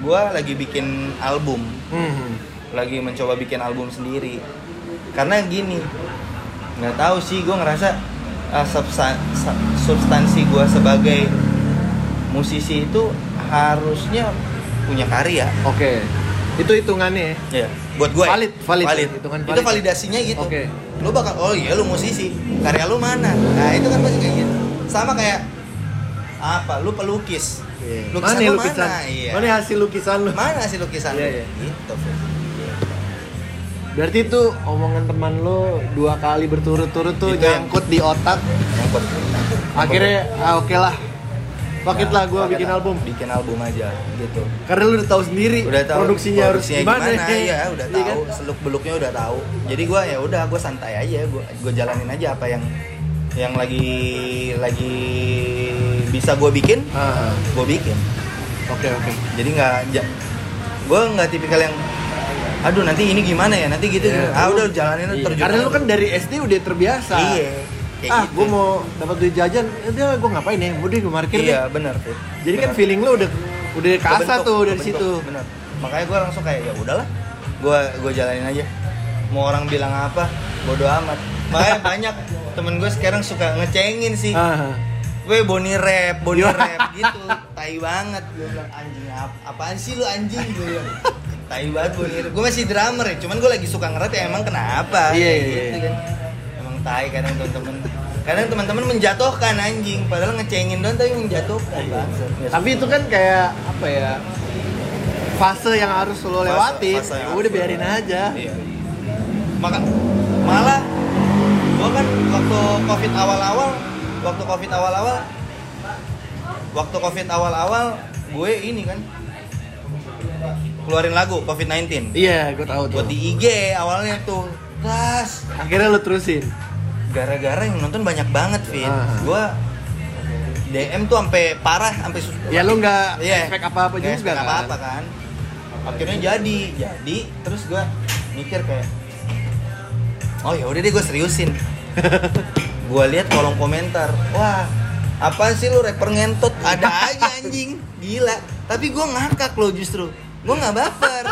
Speaker 1: gue lagi bikin album
Speaker 2: Mhm.
Speaker 1: lagi mencoba bikin album sendiri karena gini nggak tahu sih gue ngerasa uh, substan- sub- substansi gue sebagai musisi itu harusnya punya karya
Speaker 2: Oke. Itu hitungannya ya.
Speaker 1: ya buat gue
Speaker 2: Valid, valid. Hitungan valid.
Speaker 1: itu validasinya gitu
Speaker 2: Oke.
Speaker 1: lu bakal oh iya lu musisi karya lu mana nah itu kan pasti kayak gitu sama kayak apa lu pelukis lukisan
Speaker 2: Iya. Mana
Speaker 1: lu
Speaker 2: lukisan?
Speaker 1: mana iya
Speaker 2: Mana hasil lukisan lu?
Speaker 1: mana sih lukisan lu?
Speaker 2: Iya, iya.
Speaker 1: gitu
Speaker 2: Berarti itu omongan teman lu dua kali berturut-turut tuh
Speaker 1: Itu yang-
Speaker 2: nyangkut di otak.
Speaker 1: Nyangkut.
Speaker 2: Akhirnya ah, oke lah. Paket lah gua
Speaker 1: Paket
Speaker 2: bikin
Speaker 1: lah.
Speaker 2: album.
Speaker 1: bikin album aja gitu
Speaker 2: Karena lu udah tahu sendiri
Speaker 1: udah tahu
Speaker 2: produksinya,
Speaker 1: produksinya
Speaker 2: harus gimana.
Speaker 1: ya udah
Speaker 2: Iya
Speaker 1: tahu
Speaker 2: kan?
Speaker 1: seluk beluknya udah tahu jadi gua ya udah gua santai aja gua gua jalanin aja apa yang yang lagi lagi bisa gua bikin
Speaker 2: Ah,
Speaker 1: gua bikin
Speaker 2: Oke, oke.
Speaker 1: jadi nggak gue nggak tipikal yang aduh nanti ini gimana ya nanti gitu
Speaker 2: Ya,
Speaker 1: gimana?" ah
Speaker 2: lu-
Speaker 1: udah jalanin
Speaker 2: iya.
Speaker 1: terjun
Speaker 2: Karena lu
Speaker 1: aja.
Speaker 2: kan dari SD udah terbiasa.
Speaker 1: iya kayak
Speaker 2: ah,
Speaker 1: gitu.
Speaker 2: gua mau dapat duit jajan, udah gua ngapain ya? Udah gua markir deh.
Speaker 1: iya benar Fit.
Speaker 2: Jadi kan
Speaker 1: Benar.
Speaker 2: feeling lu udah udah kasar
Speaker 1: Kebentuk,
Speaker 2: tuh dari
Speaker 1: kebentuk,
Speaker 2: situ.
Speaker 1: benar makanya gue langsung kayak ya udahlah gue gue jalanin aja mau orang bilang apa bodo amat makanya banyak temen gue sekarang suka ngecengin sih
Speaker 2: Ah.
Speaker 1: gue boni rap boni rap gitu tai banget gue bilang anjing ap- apaan sih lu anjing gue bilang tai banget boni rap gue masih drummer ya cuman gue lagi suka ngerap ya emang kenapa
Speaker 2: Iya,
Speaker 1: Kayak
Speaker 2: iya,
Speaker 1: gitu
Speaker 2: iya.
Speaker 1: kan. emang tai kadang teman-teman kadang teman-teman menjatuhkan anjing padahal ngecengin doang tapi menjatuhkan bangsat.
Speaker 2: Iya. Tapi itu kan kayak apa ya? Fase yang harus lo
Speaker 1: Fase-
Speaker 2: lewatin.
Speaker 1: fase yang
Speaker 2: Ya
Speaker 1: harus
Speaker 2: udah
Speaker 1: lo
Speaker 2: biarin
Speaker 1: lewatin.
Speaker 2: aja.
Speaker 1: Iya. Maka malah gua kan waktu covid awal-awal, waktu covid awal-awal, waktu covid awal-awal, gue ini kan keluarin lagu covid 19
Speaker 2: Iya, gue tahu tuh.
Speaker 1: buat di IG awalnya tuh tas
Speaker 2: Akhirnya lo terusin.
Speaker 1: gara-gara yang nonton banyak banget Vin
Speaker 2: Ah.
Speaker 1: gue DM tuh sampai parah sampai sus-
Speaker 2: Ya lo nggak
Speaker 1: Iya.
Speaker 2: expect apa-apa
Speaker 1: Nggak
Speaker 2: juga
Speaker 1: expect
Speaker 2: kan?
Speaker 1: apa-apa kan. Akhirnya jadi, jadi terus gua mikir kayak Oh ya udah deh gue seriusin. gua lihat kolom komentar. Wah, apa sih lu rapper ngentot? Ada aja anjing. Gila. Tapi gua ngakak loh justru. Gua nggak baper.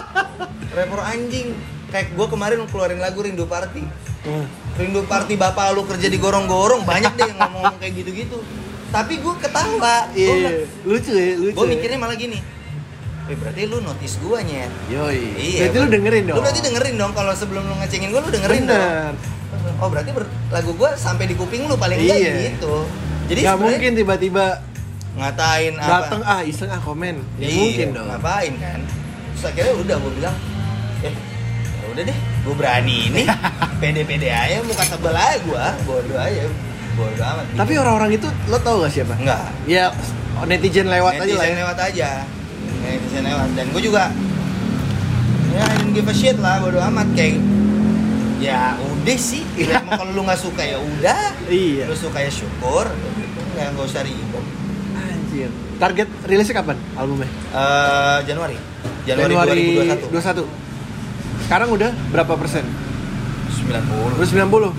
Speaker 1: rapper anjing. Kayak gua kemarin keluarin lagu Rindu Party.
Speaker 2: Hmm.
Speaker 1: Rindu Party bapak lu kerja di gorong-gorong banyak deh yang ngomong kayak gitu-gitu. Tapi gua ketawa. Gua
Speaker 2: Iya,
Speaker 1: bilang,
Speaker 2: lucu ya, lucu.
Speaker 1: gue
Speaker 2: ya.
Speaker 1: Oh, mikirnya malah gini eh berarti lu notice gue nyet
Speaker 2: Yoi. Berarti lo dengerin dong.
Speaker 1: Iya, lu berarti dengerin dong kalau sebelum lu ngecengin gue lu dengerin
Speaker 2: Bener.
Speaker 1: dong oh berarti ber- lagu gue sampai di kuping lu paling enggak
Speaker 2: Iya.
Speaker 1: gitu jadi
Speaker 2: Nggak
Speaker 1: sebenarnya
Speaker 2: mungkin tiba-tiba
Speaker 1: ngatain apa
Speaker 2: datang ah iseng ah komen. Ya,
Speaker 1: Iya,
Speaker 2: mungkin dong.
Speaker 1: ngapain kan terus akhirnya udah gue bilang eh ya udah deh gue berani ini pede-pede aja muka tebel aja gue bodoh aja bodoh amat
Speaker 2: Tapi orang-orang itu lo tau gak siapa?
Speaker 1: enggak
Speaker 2: Ya netizen lewat aja
Speaker 1: netizen
Speaker 2: lah. ya.
Speaker 1: lewat aja netizen lewat dan gue juga ya I don't give a shit lah bodo amat kayak ya udah udah sih ya, emang kalau lu nggak suka ya udah
Speaker 2: Iya.
Speaker 1: lu suka ya syukur nggak nggak usah ribet
Speaker 2: Anjir. Target rilisnya kapan albumnya?
Speaker 1: Eh, Januari Januari, 2021
Speaker 2: 2021. Sekarang udah berapa persen?
Speaker 1: 90
Speaker 2: Udah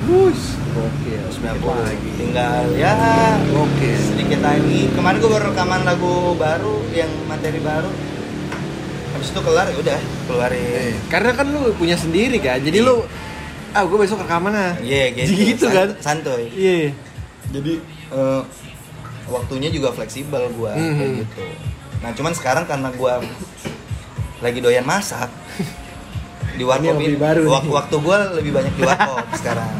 Speaker 2: 90. Wush. Oke.
Speaker 1: 90 tinggal ya
Speaker 2: Oke.
Speaker 1: sedikit lagi kemarin gue baru rekaman lagu baru yang materi baru habis itu kelar ya udah keluarin
Speaker 2: Karena kan lu punya sendiri kan. Jadi
Speaker 1: Iya.
Speaker 2: lu ah gue besok rekaman ah.
Speaker 1: Iya,
Speaker 2: Gitu kan?
Speaker 1: Sant- Santuy.
Speaker 2: Iya.
Speaker 1: jadi eh, waktunya juga fleksibel gua kayak
Speaker 2: Mhm.
Speaker 1: gitu nah cuman sekarang karena gua lagi doyan masak di
Speaker 2: Ini
Speaker 1: warkop
Speaker 2: hobi
Speaker 1: ini
Speaker 2: baru nih.
Speaker 1: wak- waktu gua lebih banyak di warkop sekarang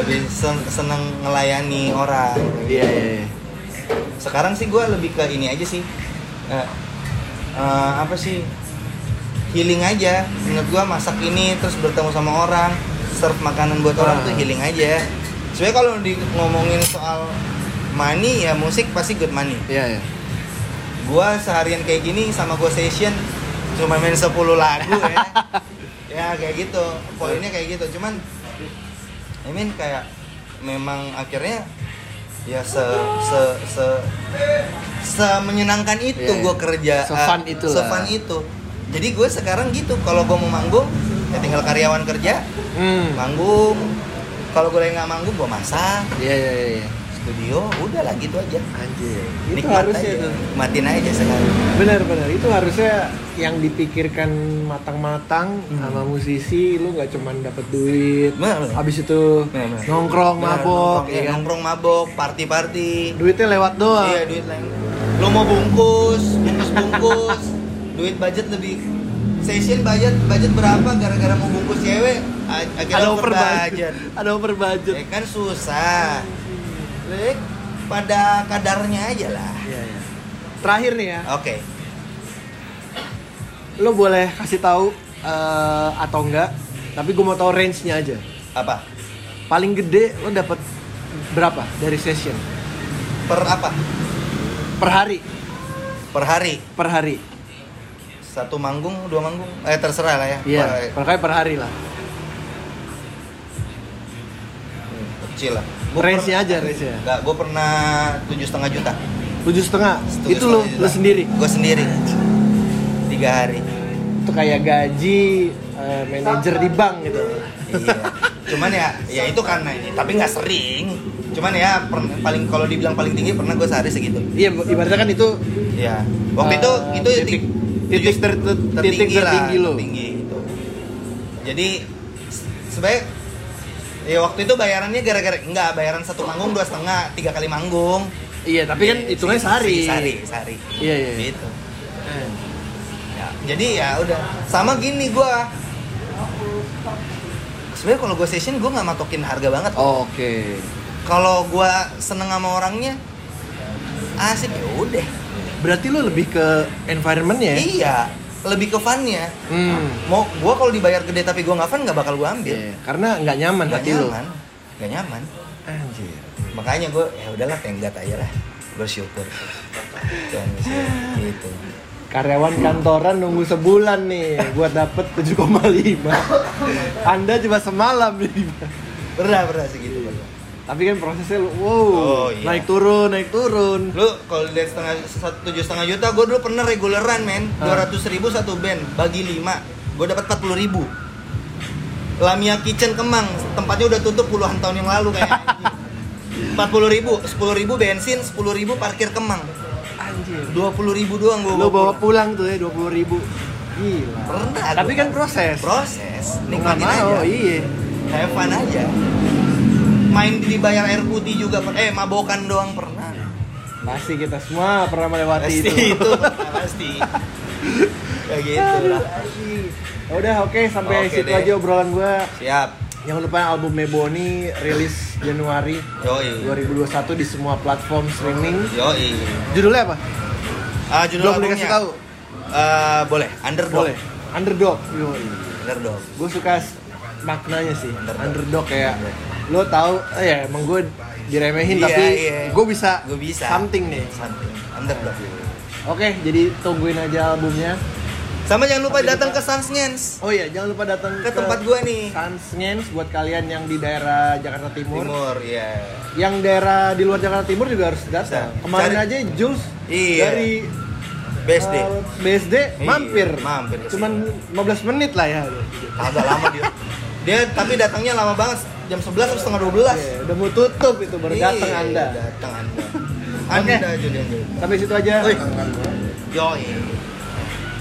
Speaker 1: lebih sen- seneng ngelayani orang
Speaker 2: Iya, iya, iya.
Speaker 1: sekarang sih gua lebih ke ini aja sih Eh, eh, apa sih healing aja menurut gua masak ini terus bertemu sama orang serve makanan buat
Speaker 2: Ah.
Speaker 1: orang tuh healing aja sebenarnya kalau di ngomongin soal money ya musik pasti good money
Speaker 2: Iya, iya.
Speaker 1: gua seharian kayak gini sama gua session cuma main 10 lagu ya ya kayak gitu poinnya kayak gitu cuman I mean kayak memang akhirnya ya se se se semenyenangkan itu
Speaker 2: Iya, iya.
Speaker 1: gua kerja
Speaker 2: Se-fun
Speaker 1: eh,
Speaker 2: itulah.
Speaker 1: se-fun itu jadi gue sekarang gitu kalau gue mau manggung ya tinggal karyawan kerja
Speaker 2: Hmm.
Speaker 1: manggung kalau gue lagi nggak manggung gue masak
Speaker 2: Iya, iya, iya, iya.
Speaker 1: studio udah lah gitu aja
Speaker 2: Anjir. Itu
Speaker 1: Nikmat
Speaker 2: harusnya
Speaker 1: aja.
Speaker 2: tuh.
Speaker 1: Nikmatin aja sekarang
Speaker 2: Benar-benar itu harusnya yang dipikirkan matang-matang sama musisi lu nggak cuman dapat duit.
Speaker 1: Benar.
Speaker 2: Habis itu
Speaker 1: Benar, benar.
Speaker 2: nongkrong
Speaker 1: Benar,
Speaker 2: mabok
Speaker 1: nongkrong,
Speaker 2: ya
Speaker 1: iya,
Speaker 2: kan?
Speaker 1: nongkrong mabok party-party
Speaker 2: Duitnya lewat doang.
Speaker 1: iya duit lain lo mau bungkus bungkus bungkus duit budget lebih session budget budget berapa gara-gara mau bungkus cewek a-
Speaker 2: Ada
Speaker 1: akhirnya
Speaker 2: over
Speaker 1: over
Speaker 2: budget.
Speaker 1: budget
Speaker 2: Ada over budget.
Speaker 1: ya kan susah Lek, pada kadarnya aja lah
Speaker 2: Iya, iya. Terakhir nih ya,
Speaker 1: oke
Speaker 2: lo boleh kasih tahu eh, atau enggak? Tapi gue mau tahu range-nya aja.
Speaker 1: apa
Speaker 2: Paling gede lo dapat berapa dari session
Speaker 1: per apa
Speaker 2: per hari?
Speaker 1: per hari
Speaker 2: Per hari.
Speaker 1: satu manggung dua manggung eh terserah lah ya
Speaker 2: Iya,
Speaker 1: Per-
Speaker 2: per, per hari lah.
Speaker 1: kecil lah
Speaker 2: Range-nya aja, ya. range-nya.
Speaker 1: Enggak, gue pernah tujuh setengah juta
Speaker 2: tujuh setengah itu lo
Speaker 1: iya.
Speaker 2: lo sendiri
Speaker 1: gue sendiri tiga hari
Speaker 2: itu kayak gaji eh, manajer di bank gitu
Speaker 1: iya cuman ya ya itu karena ini tapi nggak sering cuman ya per- paling kalau dibilang paling tinggi pernah gue sehari segitu
Speaker 2: iya ibaratnya kan itu
Speaker 1: ya waktu
Speaker 2: eh,
Speaker 1: itu itu
Speaker 2: titik
Speaker 1: ti-
Speaker 2: titik ter, ter- titik
Speaker 1: tertinggi,
Speaker 2: tertinggi
Speaker 1: lah
Speaker 2: lo
Speaker 1: tertinggi itu jadi se- sebaik ya waktu itu bayarannya gara-gara nggak bayaran satu manggung dua setengah tiga kali manggung
Speaker 2: iya tapi kan
Speaker 1: Iya,
Speaker 2: hitungnya
Speaker 1: se-
Speaker 2: sehari
Speaker 1: sehari sehari
Speaker 2: Iya, iya, iya.
Speaker 1: gitu Ya, jadi ya udah sama gini gua sebenarnya kalau gua session gua nggak matokin harga banget
Speaker 2: oke
Speaker 1: kalau gua seneng sama orangnya asik ya udah
Speaker 2: berarti lo lebih ke environmentnya ya
Speaker 1: iya lebih ke funnya
Speaker 2: hmm.
Speaker 1: mau gua kalau dibayar gede tapi gua nggak fun nggak bakal gua ambil
Speaker 2: Iya, karena nggak nyaman
Speaker 1: nggak
Speaker 2: hati lo
Speaker 1: nyaman nggak nyaman
Speaker 2: anjir
Speaker 1: makanya gua ya udahlah tenggat aja lah bersyukur Tuhan Yesus, gitu
Speaker 2: karyawan kantoran nunggu sebulan nih buat dapet 7,5 anda cuma semalam nih
Speaker 1: berat berat segitu berat.
Speaker 2: tapi kan prosesnya lu wow
Speaker 1: Oh, iya.
Speaker 2: naik turun naik turun
Speaker 1: lu kalau lihat setengah satu tujuh setengah juta gue dulu pernah reguleran men dua
Speaker 2: Hah?
Speaker 1: ratus ribu satu band bagi lima gue dapat empat puluh ribu Lamia Kitchen Kemang tempatnya udah tutup puluhan tahun yang lalu kayak empat puluh ribu sepuluh ribu bensin sepuluh ribu parkir Kemang
Speaker 2: anjir
Speaker 1: dua puluh ribu doang gue
Speaker 2: lo bawa pulang tuh ya 20.000 ribu gila
Speaker 1: pernah
Speaker 2: tapi
Speaker 1: gua.
Speaker 2: kan proses
Speaker 1: proses
Speaker 2: Lu nggak
Speaker 1: nikmatin
Speaker 2: mau
Speaker 1: aja
Speaker 2: iya
Speaker 1: have fun aja main dibayar air putih juga per- eh mabokan doang pernah
Speaker 2: pasti kita semua pernah melewati
Speaker 1: pasti
Speaker 2: itu, Ya
Speaker 1: itu pasti kayak gitu
Speaker 2: Aduh,
Speaker 1: lah
Speaker 2: anjir. Ya udah oke sampai
Speaker 1: Oke
Speaker 2: situ
Speaker 1: deh.
Speaker 2: aja obrolan gua
Speaker 1: siap
Speaker 2: jangan lupa album Meboni rilis Januari
Speaker 1: yoi
Speaker 2: 2021 di semua platform streaming
Speaker 1: yoi
Speaker 2: judulnya apa
Speaker 1: ah judul
Speaker 2: belum
Speaker 1: albumnya
Speaker 2: dikasih tahu
Speaker 1: Eh, boleh underdog
Speaker 2: boleh underdog Yoi.
Speaker 1: underdog
Speaker 2: gue suka s- maknanya sih
Speaker 1: Underdog.
Speaker 2: underdog kayak lo tahu eh, ya emang gue diremehin
Speaker 1: Iya,
Speaker 2: Eh, tapi
Speaker 1: iya.
Speaker 2: gue bisa
Speaker 1: gue bisa
Speaker 2: something nih
Speaker 1: something underdog
Speaker 2: oke jadi tungguin aja albumnya
Speaker 1: Sama jangan lupa
Speaker 2: Tapi
Speaker 1: datang
Speaker 2: kita-
Speaker 1: ke Sansnyens
Speaker 2: Oh iya, jangan lupa datang
Speaker 1: ke tempat gua nih.
Speaker 2: Sansnyens buat kalian yang di daerah Jakarta Timur.
Speaker 1: Timur, iya.
Speaker 2: Yang daerah di luar Jakarta Timur juga harus datang.
Speaker 1: Bisa.
Speaker 2: Kemarin
Speaker 1: Cari-
Speaker 2: aja Jules
Speaker 1: Iya.
Speaker 2: dari
Speaker 1: BSD.
Speaker 2: uh, BSD mampir.
Speaker 1: Iya, mampir ke
Speaker 2: Cuman 15 menit lah ya.
Speaker 1: Agak lama dia. Dia tapi datangnya lama banget, jam 11 atau setengah 12.
Speaker 2: Iya, udah mau tutup itu baru datang
Speaker 1: Iya,
Speaker 2: Anda.
Speaker 1: Datang Anda.
Speaker 2: Oke.
Speaker 1: Anda Julian Julian.
Speaker 2: Sampai situ aja.
Speaker 1: Oi. Yoi.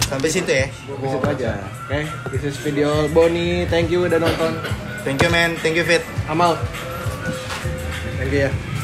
Speaker 1: Sampai situ ya.
Speaker 2: Sampai situ aja. Oke, this is video Boni. Thank you udah nonton.
Speaker 1: Thank you man, thank you Fit.
Speaker 2: Amal. Thank you ya.